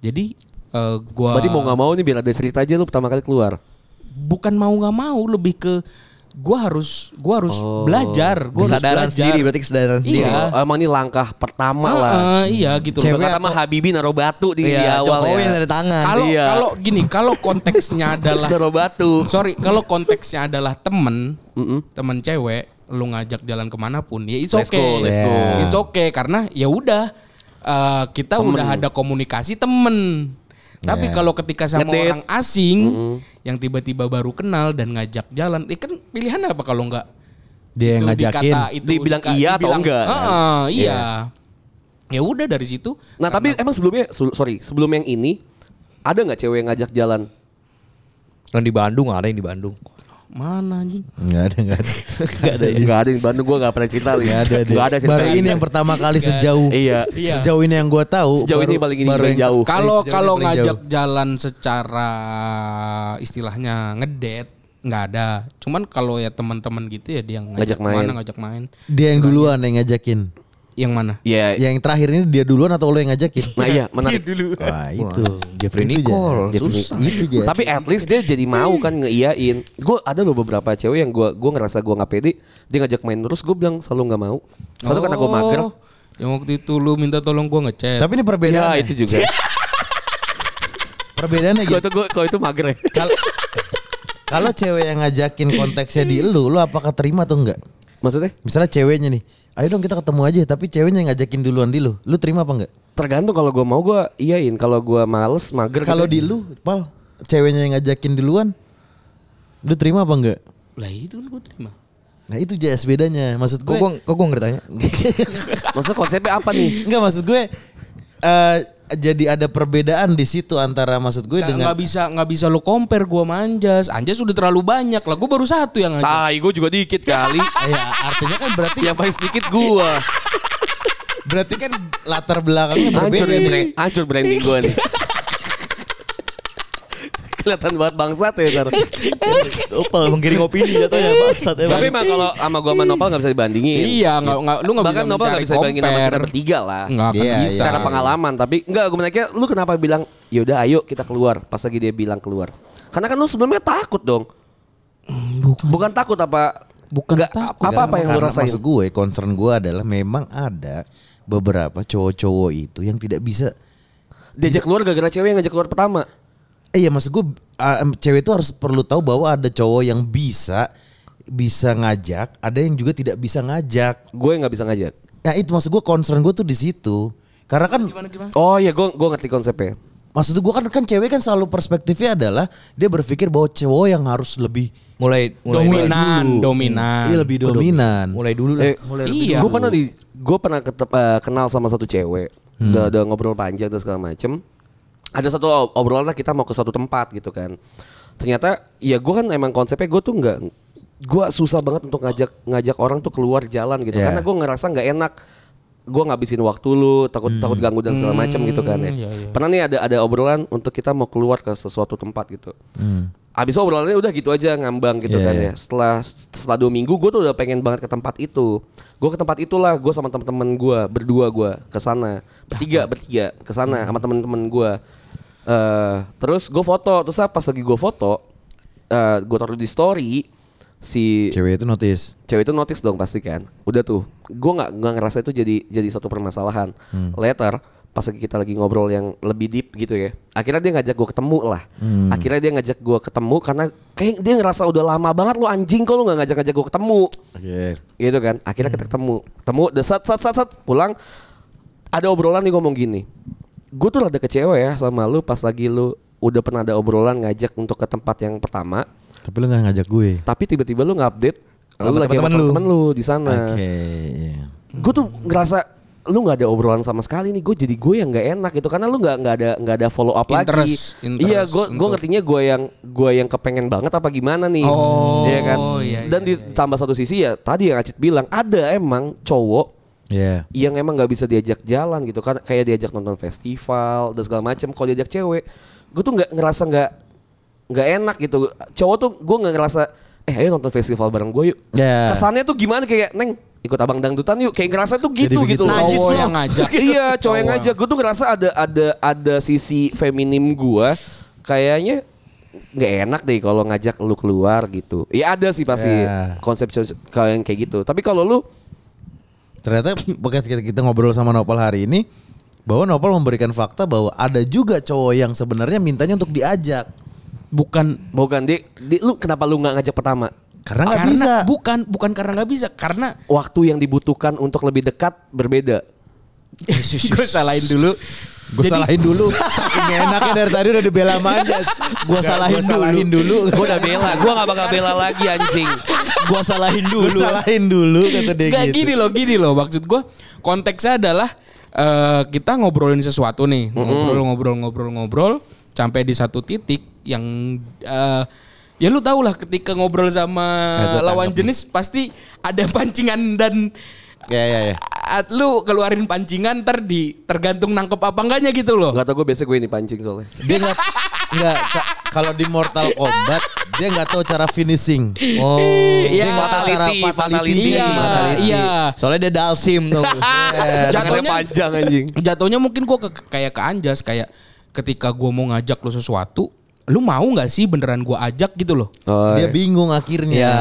[SPEAKER 3] jadi eh, gua
[SPEAKER 2] Berarti mau nggak mau nih biar ada cerita aja lu pertama kali keluar.
[SPEAKER 3] bukan mau nggak mau lebih ke gua harus gua harus belajar gua harus
[SPEAKER 5] Kesadaran
[SPEAKER 3] belajar.
[SPEAKER 5] sendiri berarti kesadaran sendiri.
[SPEAKER 3] Iya.
[SPEAKER 2] Oh, emang ini langkah pertama
[SPEAKER 3] Ah,
[SPEAKER 2] lah.
[SPEAKER 3] eh, iya gitu loh.
[SPEAKER 2] Cewek kan pertama Habibi naruh batu di, di
[SPEAKER 5] Iya,
[SPEAKER 2] awal
[SPEAKER 5] Jokowi
[SPEAKER 2] ya.
[SPEAKER 5] yang dari tangan.
[SPEAKER 3] kalau
[SPEAKER 2] iya.
[SPEAKER 3] kalau gini kalau konteksnya adalah
[SPEAKER 2] Naruh batu.
[SPEAKER 3] sorry kalau konteksnya adalah temen
[SPEAKER 2] Mm-mm.
[SPEAKER 3] temen cewek lu ngajak jalan kemanapun ya it's
[SPEAKER 2] Let's
[SPEAKER 3] okay
[SPEAKER 2] go, let's go.
[SPEAKER 3] it's okay karena ya udah eh, kita udah ada komunikasi temen tapi kalau ketika sama
[SPEAKER 2] Ngedate.
[SPEAKER 3] orang asing yang tiba-tiba baru kenal dan ngajak jalan eh kan pilihan apa kalau nggak
[SPEAKER 4] Dia yang
[SPEAKER 3] itu
[SPEAKER 4] ngajakin.
[SPEAKER 3] dikata
[SPEAKER 2] Ya,
[SPEAKER 3] itu
[SPEAKER 2] Dibilang
[SPEAKER 3] dika-
[SPEAKER 2] iya atau enggak, kan?
[SPEAKER 3] "Heeh, iya ya udah dari situ
[SPEAKER 2] Nah, tapi emang sebelumnya su- sorry, sebelum yang ini ada nggak cewek yang ngajak jalan?
[SPEAKER 5] Dan di Bandung ada yang di Bandung.
[SPEAKER 3] mana anjing
[SPEAKER 4] Enggak ada, enggak ada. Enggak ada.
[SPEAKER 2] Gak ada di Bandung gue gak pernah cerita lagi.
[SPEAKER 4] Nggak ada. deh.
[SPEAKER 2] Gak ada cerita.
[SPEAKER 4] Baru ini yang pertama kali sejauh.
[SPEAKER 2] Iya.
[SPEAKER 3] Iya.
[SPEAKER 4] Sejauh ini yang gua tahu.
[SPEAKER 2] Sejauh ini
[SPEAKER 4] baru-
[SPEAKER 2] paling ini
[SPEAKER 4] baru
[SPEAKER 2] paling
[SPEAKER 4] yang-
[SPEAKER 2] jauh.
[SPEAKER 3] Kalau
[SPEAKER 4] Dari sejauh
[SPEAKER 3] kalau
[SPEAKER 4] yang paling
[SPEAKER 3] ngajak jalan secara istilahnya ngedet nggak ada. Cuman kalau ya teman-teman gitu ya dia yang
[SPEAKER 2] Ngajak
[SPEAKER 3] ngajak,
[SPEAKER 2] main.
[SPEAKER 3] Mana, ngajak main.
[SPEAKER 4] Dia yang duluan yang ngajakin.
[SPEAKER 3] Yang mana?
[SPEAKER 2] Iya.
[SPEAKER 4] Yang terakhir ini dia duluan atau lo yang ngajakin?
[SPEAKER 2] Nah iya menarik.
[SPEAKER 4] Wah itu
[SPEAKER 5] Jeffrey
[SPEAKER 4] Itu,
[SPEAKER 5] Nicole,
[SPEAKER 4] Jan.
[SPEAKER 5] susah.
[SPEAKER 4] Itu Jan.
[SPEAKER 2] Tapi eh, at least dia jadi mau kan ngeiyain. Gue ada loh beberapa cewek yang gue gua ngerasa gue nggak pede. Dia ngajak main terus gue bilang selalu nggak mau. Satu karena gue mager.
[SPEAKER 3] Oh, Yang waktu itu lu minta tolong gua ngechat.
[SPEAKER 4] Tapi ini
[SPEAKER 2] Ya
[SPEAKER 4] perbedaannya.
[SPEAKER 2] itu juga.
[SPEAKER 4] Perbedaannya
[SPEAKER 2] Gue
[SPEAKER 4] gitu.
[SPEAKER 2] itu gue kalau itu mager ya.
[SPEAKER 4] Kalau kalau cewek yang ngajakin konteksnya di lu, lu apakah terima atau enggak?
[SPEAKER 2] Maksudnya
[SPEAKER 4] Misalnya ceweknya nih, ayo dong kita ketemu aja, tapi ceweknya yang ngajakin duluan di lu, lu terima apa enggak?
[SPEAKER 2] tergantung kalau gue mau gue iyain. Kalau gue males mager.
[SPEAKER 4] Kalau
[SPEAKER 2] gitu.
[SPEAKER 4] di lu, pal, ceweknya yang ngajakin duluan, lu terima apa enggak?
[SPEAKER 3] Lah itu kan gua terima.
[SPEAKER 4] Nah itu jelas bedanya, maksud
[SPEAKER 5] Kok
[SPEAKER 4] gue.
[SPEAKER 5] gua kok gua ngertanya?
[SPEAKER 2] Maksudnya konsepnya apa nih?
[SPEAKER 4] Enggak maksud gue. eh jadi ada perbedaan di situ antara maksud gue
[SPEAKER 3] Nggak-
[SPEAKER 4] dengan
[SPEAKER 3] nggak bisa nggak bisa lu compare gua sama Anjas. Anjas udah terlalu banyak lah. Gua baru satu yang ngajak.
[SPEAKER 2] Tai gue juga dikit kali.
[SPEAKER 4] ya artinya kan berarti
[SPEAKER 2] yang paling sedikit gue.
[SPEAKER 4] berarti kan latar belakangnya
[SPEAKER 2] Hancur nih,
[SPEAKER 4] berbeda nih.
[SPEAKER 2] brand- hancur branding gue nih. Kelihatan banget bangsat ya ntar.
[SPEAKER 5] Opal menggiring opini jatuhnya bangsat
[SPEAKER 2] Tapi emang kalau sama gua sama Nopal gak bisa dibandingin.
[SPEAKER 3] Iya, nggak nggak lu nggak bisa
[SPEAKER 2] Bahkan Nopal gak
[SPEAKER 3] mencari
[SPEAKER 2] bisa dibandingin sama kita
[SPEAKER 3] compare.
[SPEAKER 2] bertiga lah.
[SPEAKER 3] Nggak akan
[SPEAKER 4] Iya,
[SPEAKER 3] bisa.
[SPEAKER 2] Secara pengalaman, tapi enggak gue menanya lu kenapa bilang yaudah ayo kita keluar pas lagi dia bilang keluar. Karena kan lu sebelumnya takut dong. Bukan, takut apa?
[SPEAKER 3] Bukan
[SPEAKER 2] nggak-
[SPEAKER 3] takut.
[SPEAKER 2] Apa apa yang lu
[SPEAKER 4] Karena
[SPEAKER 2] rasain?
[SPEAKER 4] Maksud gue, concern gue adalah memang ada beberapa cowok-cowok itu yang tidak bisa.
[SPEAKER 2] Diajak keluar gara-gara cewek yang ngajak keluar pertama.
[SPEAKER 4] Eh ya maksud gue, ah, em, cewek itu harus perlu tahu bahwa ada cowok yang bisa bisa ngajak, ada yang juga tidak bisa ngajak. Ya,
[SPEAKER 2] Gue nggak bisa ngajak.
[SPEAKER 4] Nah itu maksud gue concern gue tuh di situ. Karena kan
[SPEAKER 3] Gimana gimana?
[SPEAKER 2] Oh iya, gue gue ngerti konsepnya.
[SPEAKER 4] maksud gue kan kan cewek kan selalu perspektifnya adalah dia berpikir bahwa cowok yang harus lebih
[SPEAKER 5] mulai mulai
[SPEAKER 3] dominan, dominan.
[SPEAKER 4] Iya lebih dominan.
[SPEAKER 5] mulai dulu lah.
[SPEAKER 2] Eh,
[SPEAKER 5] mulai
[SPEAKER 3] Iya.
[SPEAKER 2] Gue pernah di gue pernah ketep, eh, kenal sama satu cewek.
[SPEAKER 5] Hmm.
[SPEAKER 2] Udah, udah ngobrol panjang dan segala macem. Ada satu ob- obrolan lah kita mau ke suatu tempat gitu kan. Ternyata ya gue kan emang konsepnya gue tuh nggak gue susah banget untuk ngajak ngajak orang tuh keluar jalan gitu
[SPEAKER 4] Iya.
[SPEAKER 2] karena gue ngerasa nggak enak gue ngabisin waktu lu takut
[SPEAKER 5] Hmm.
[SPEAKER 2] takut ganggu dan segala macem gitu kan ya pernah nih ada ada obrolan untuk kita mau keluar ke sesuatu tempat gitu
[SPEAKER 4] Hmm.
[SPEAKER 2] Abis itu obrolannya udah gitu aja ngambang gitu
[SPEAKER 4] Iya,
[SPEAKER 2] kan
[SPEAKER 4] iya.
[SPEAKER 2] ya. Setelah setelah dua minggu gue tuh udah pengen banget ke tempat itu. Gue ke tempat itulah gue sama teman-teman gue berdua gue ke sana bertiga bertiga ke sana
[SPEAKER 4] Hmm.
[SPEAKER 2] sama teman-teman gue. eh terus gue foto terus apa pas lagi gue foto eh gue taruh di story si
[SPEAKER 4] Cewek itu notice.
[SPEAKER 2] cewek itu notice dong pasti kan udah tuh gue nggak nggak ngerasa itu jadi jadi satu permasalahan later pas lagi kita lagi ngobrol yang lebih deep gitu ya akhirnya dia ngajak gue ketemu lah akhirnya dia ngajak gue ketemu karena kayak dia ngerasa udah lama banget lo anjing kok lo nggak ngajak ngajak gue ketemu
[SPEAKER 4] Oke.
[SPEAKER 2] gitu kan akhirnya kita ketemu ketemu udah sat sat sat sat pulang ada obrolan nih ngomong gini gue tuh rada kecewa ya sama lu pas lagi lu udah pernah ada obrolan ngajak untuk ke tempat yang pertama
[SPEAKER 4] Tapi lu gak ngajak gue.
[SPEAKER 2] tapi tiba-tiba lu nge-update lu
[SPEAKER 3] Oh,
[SPEAKER 5] Sama
[SPEAKER 2] lagi sama
[SPEAKER 5] teman-teman lu.
[SPEAKER 2] teman lu di
[SPEAKER 5] Nah.
[SPEAKER 2] sana
[SPEAKER 4] Oke. iya.
[SPEAKER 2] gue tuh ngerasa lu nggak ada obrolan sama sekali nih gue jadi gue yang nggak enak gitu karena lu nggak nggak ada nggak ada follow up
[SPEAKER 3] Interest,
[SPEAKER 2] lagi
[SPEAKER 3] interest
[SPEAKER 2] iya gue gue
[SPEAKER 3] untuk-
[SPEAKER 2] ngertinya gue yang gue yang kepengen banget apa gimana nih
[SPEAKER 3] Oh,
[SPEAKER 2] Iya kan
[SPEAKER 3] iya,
[SPEAKER 2] dan
[SPEAKER 3] iya,
[SPEAKER 2] ditambah satu sisi ya tadi yang Acit bilang ada emang cowok
[SPEAKER 4] Iya.
[SPEAKER 2] yang emang nggak bisa diajak jalan gitu kan kayak diajak nonton festival dan segala macem kalau diajak cewek gue tuh nggak ngerasa nggak nggak enak gitu cowok tuh gue nggak ngerasa eh ayo nonton festival bareng gue yuk
[SPEAKER 4] Ya.
[SPEAKER 2] kesannya tuh gimana kayak neng ikut abang dangdutan yuk kayak ngerasa tuh
[SPEAKER 4] Jadi
[SPEAKER 2] gitu
[SPEAKER 4] begitu.
[SPEAKER 2] gitu loh.
[SPEAKER 4] Najis
[SPEAKER 3] Cowok
[SPEAKER 4] lu.
[SPEAKER 3] yang ngajak.
[SPEAKER 2] iya cowok yang ngajak gue tuh ngerasa ada ada ada sisi feminim gue kayaknya nggak enak deh kalau ngajak lu keluar gitu ya ada sih pasti
[SPEAKER 4] Ya.
[SPEAKER 2] konsep cowok- cowok yang kayak gitu tapi kalau lu
[SPEAKER 4] Ternyata bekas kita, kita ngobrol sama Nopal hari ini bahwa Nopal memberikan fakta bahwa ada juga cowok yang sebenarnya mintanya untuk diajak.
[SPEAKER 3] Bukan
[SPEAKER 2] Bukan di, di lu kenapa lu nggak ngajak pertama?
[SPEAKER 4] Karena nggak bisa.
[SPEAKER 3] Bukan bukan karena nggak bisa, karena
[SPEAKER 2] Waktu yang dibutuhkan untuk lebih dekat berbeda.
[SPEAKER 3] gue salahin dulu.
[SPEAKER 4] Gue salahin dulu. Saking nggak enaknya dari tadi udah dibela manjas. Gue salahin, salahin dulu.
[SPEAKER 2] Gue udah bela, gue nggak bakal bela lagi anjing.
[SPEAKER 4] Gue salahin dulu. Gue salahin dulu kata dia
[SPEAKER 3] Gak
[SPEAKER 4] gitu.
[SPEAKER 3] gini loh, gini loh. Maksud gue konteksnya adalah eh, kita ngobrolin sesuatu nih, ngobrol-ngobrol-ngobrol-ngobrol, sampai di satu titik yang eh, ya lu tau lah ketika ngobrol sama
[SPEAKER 4] Eh, gua
[SPEAKER 3] lawan
[SPEAKER 4] tangkap
[SPEAKER 3] jenis pasti ada pancingan dan
[SPEAKER 4] Ya ya ya.
[SPEAKER 3] ah, lu keluarin pancingan ter di tergantung nangkep apa enggaknya gitu loh.
[SPEAKER 2] Gak tau gue biasa gue ini pancing soalnya.
[SPEAKER 4] Dia nggak nggak ka- kalau di Mortal Kombat dia nggak tahu cara finishing.
[SPEAKER 5] Oh.
[SPEAKER 3] Iya.
[SPEAKER 4] Dia nggak tahu cara
[SPEAKER 2] Fatality,
[SPEAKER 4] fatality. dia
[SPEAKER 3] Iya,
[SPEAKER 4] gimana. Eh,
[SPEAKER 3] iya.
[SPEAKER 5] Soalnya dia dalsim tuh.
[SPEAKER 2] Tangannya
[SPEAKER 3] Jatuhnya-
[SPEAKER 2] panjang anjing.
[SPEAKER 3] jatuhnya mungkin gua ke- kayak ke Anjas kayak ketika gua mau ngajak lu sesuatu lu mau nggak sih beneran gua ajak gitu loh
[SPEAKER 2] Oh,
[SPEAKER 4] Dia bingung akhirnya.
[SPEAKER 5] Iya.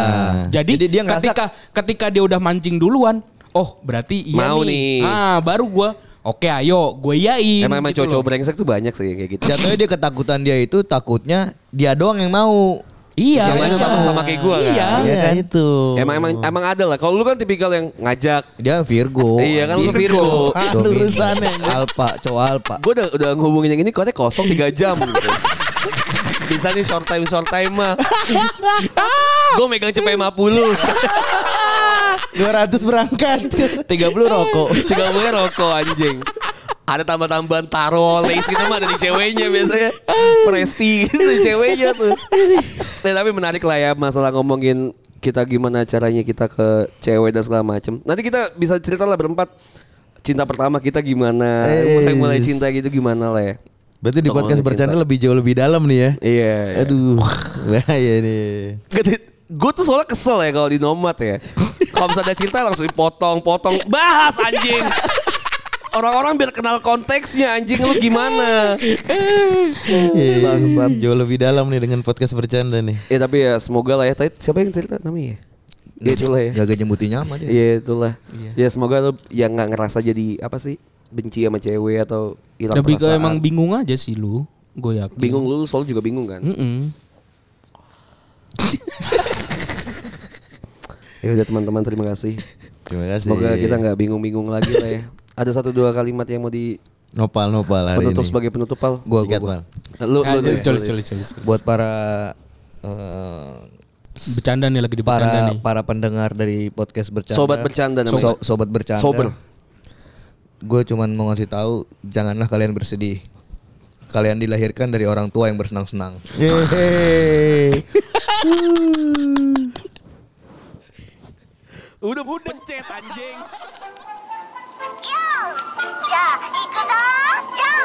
[SPEAKER 3] jadi,
[SPEAKER 5] Jadi dia ngerasa-
[SPEAKER 3] ketika ketika dia udah mancing duluan oh berarti iya
[SPEAKER 2] Mau nih.
[SPEAKER 3] ah baru gua oke ayo gue yain
[SPEAKER 2] emang emang
[SPEAKER 3] gitu
[SPEAKER 2] cowok-cowok
[SPEAKER 3] loh.
[SPEAKER 2] brengsek tuh banyak sih kayak gitu.
[SPEAKER 5] Jatuhnya dia ketakutan dia itu takutnya dia doang yang mau.
[SPEAKER 3] iya
[SPEAKER 2] Sama,
[SPEAKER 3] iya.
[SPEAKER 2] sama, sama kayak gue
[SPEAKER 3] Iya.
[SPEAKER 2] kan.
[SPEAKER 4] Iya itu.
[SPEAKER 2] Emang emang emang ada lah. Kalau lu kan tipikal yang ngajak.
[SPEAKER 5] Dia Virgo.
[SPEAKER 2] Iya kan, lu
[SPEAKER 5] Anjing.
[SPEAKER 2] Virgo.
[SPEAKER 4] Ah,
[SPEAKER 5] Dominan.
[SPEAKER 4] lurusannya.
[SPEAKER 5] Alpha, cowok Alpha.
[SPEAKER 2] Gue udah udah ngehubungin yang ini kotanya kosong 3 jam. gitu. Bisa nih short time short time mah. gue megang cepet 50.
[SPEAKER 4] 200 berangkat.
[SPEAKER 2] 30 rokok 30 rokok anjing ada tambah-tambahan taro lace gitu mah dari ceweknya biasanya presti gitu dari ceweknya tuh Nah, tapi menarik lah ya masalah ngomongin kita gimana caranya kita ke cewek dan segala macem nanti kita bisa cerita lah berempat cinta pertama kita gimana mulai mulai
[SPEAKER 4] Eis.
[SPEAKER 2] cinta gitu gimana lah ya
[SPEAKER 4] Berarti di
[SPEAKER 2] Tolong
[SPEAKER 4] podcast
[SPEAKER 2] cinta.
[SPEAKER 4] bercanda lebih jauh lebih dalam nih ya.
[SPEAKER 2] iya
[SPEAKER 4] Aduh. Nah, iya nih.
[SPEAKER 2] gue tuh soalnya kesel ya kalau di nomad ya kalau misalnya ada cinta langsung dipotong-potong bahas anjing orang-orang biar kenal konteksnya anjing lu gimana
[SPEAKER 3] Iya,
[SPEAKER 4] Bangsat. Jauh lebih dalam nih dengan podcast bercanda nih.
[SPEAKER 2] ya tapi ya semoga lah ya tadi siapa yang cerita namanya ya? ya itulah ya
[SPEAKER 5] Jaga jembutinya
[SPEAKER 3] Iya.
[SPEAKER 5] sama dia.
[SPEAKER 2] ya itulah ya semoga lu yang nggak ngerasa jadi apa sih benci sama cewek atau hilang
[SPEAKER 3] lebih ke
[SPEAKER 2] perasaan.
[SPEAKER 3] emang bingung aja sih lu gue yakin
[SPEAKER 2] bingung lu soalnya juga bingung kan
[SPEAKER 3] Mm-mm.
[SPEAKER 2] ya udah teman-teman
[SPEAKER 3] Iya
[SPEAKER 2] terima kasih
[SPEAKER 4] Terima kasih.
[SPEAKER 2] semoga kita nggak bingung-bingung lagi lah ya ada satu dua kalimat yang mau di
[SPEAKER 4] Nopal nopal hari
[SPEAKER 2] Penutup
[SPEAKER 4] ini.
[SPEAKER 2] sebagai penutup pal.
[SPEAKER 5] Gua
[SPEAKER 4] Sikat,
[SPEAKER 5] gua.
[SPEAKER 4] Pal.
[SPEAKER 2] Lu lu
[SPEAKER 3] Ah,
[SPEAKER 2] lu-
[SPEAKER 3] colis,
[SPEAKER 2] lu-
[SPEAKER 3] colis, colis.
[SPEAKER 5] Buat para eh,
[SPEAKER 3] Bercanda nih lagi di bercanda
[SPEAKER 5] para
[SPEAKER 3] nih.
[SPEAKER 5] para pendengar dari podcast bercanda.
[SPEAKER 2] Sobat bercanda namanya.
[SPEAKER 5] So- sobat bercanda.
[SPEAKER 2] Sober.
[SPEAKER 5] Gue cuman mau ngasih tahu janganlah kalian bersedih. Kalian dilahirkan dari orang tua yang bersenang-senang.
[SPEAKER 2] Udah udah pencet anjing.
[SPEAKER 6] じゃあ行くぞじゃん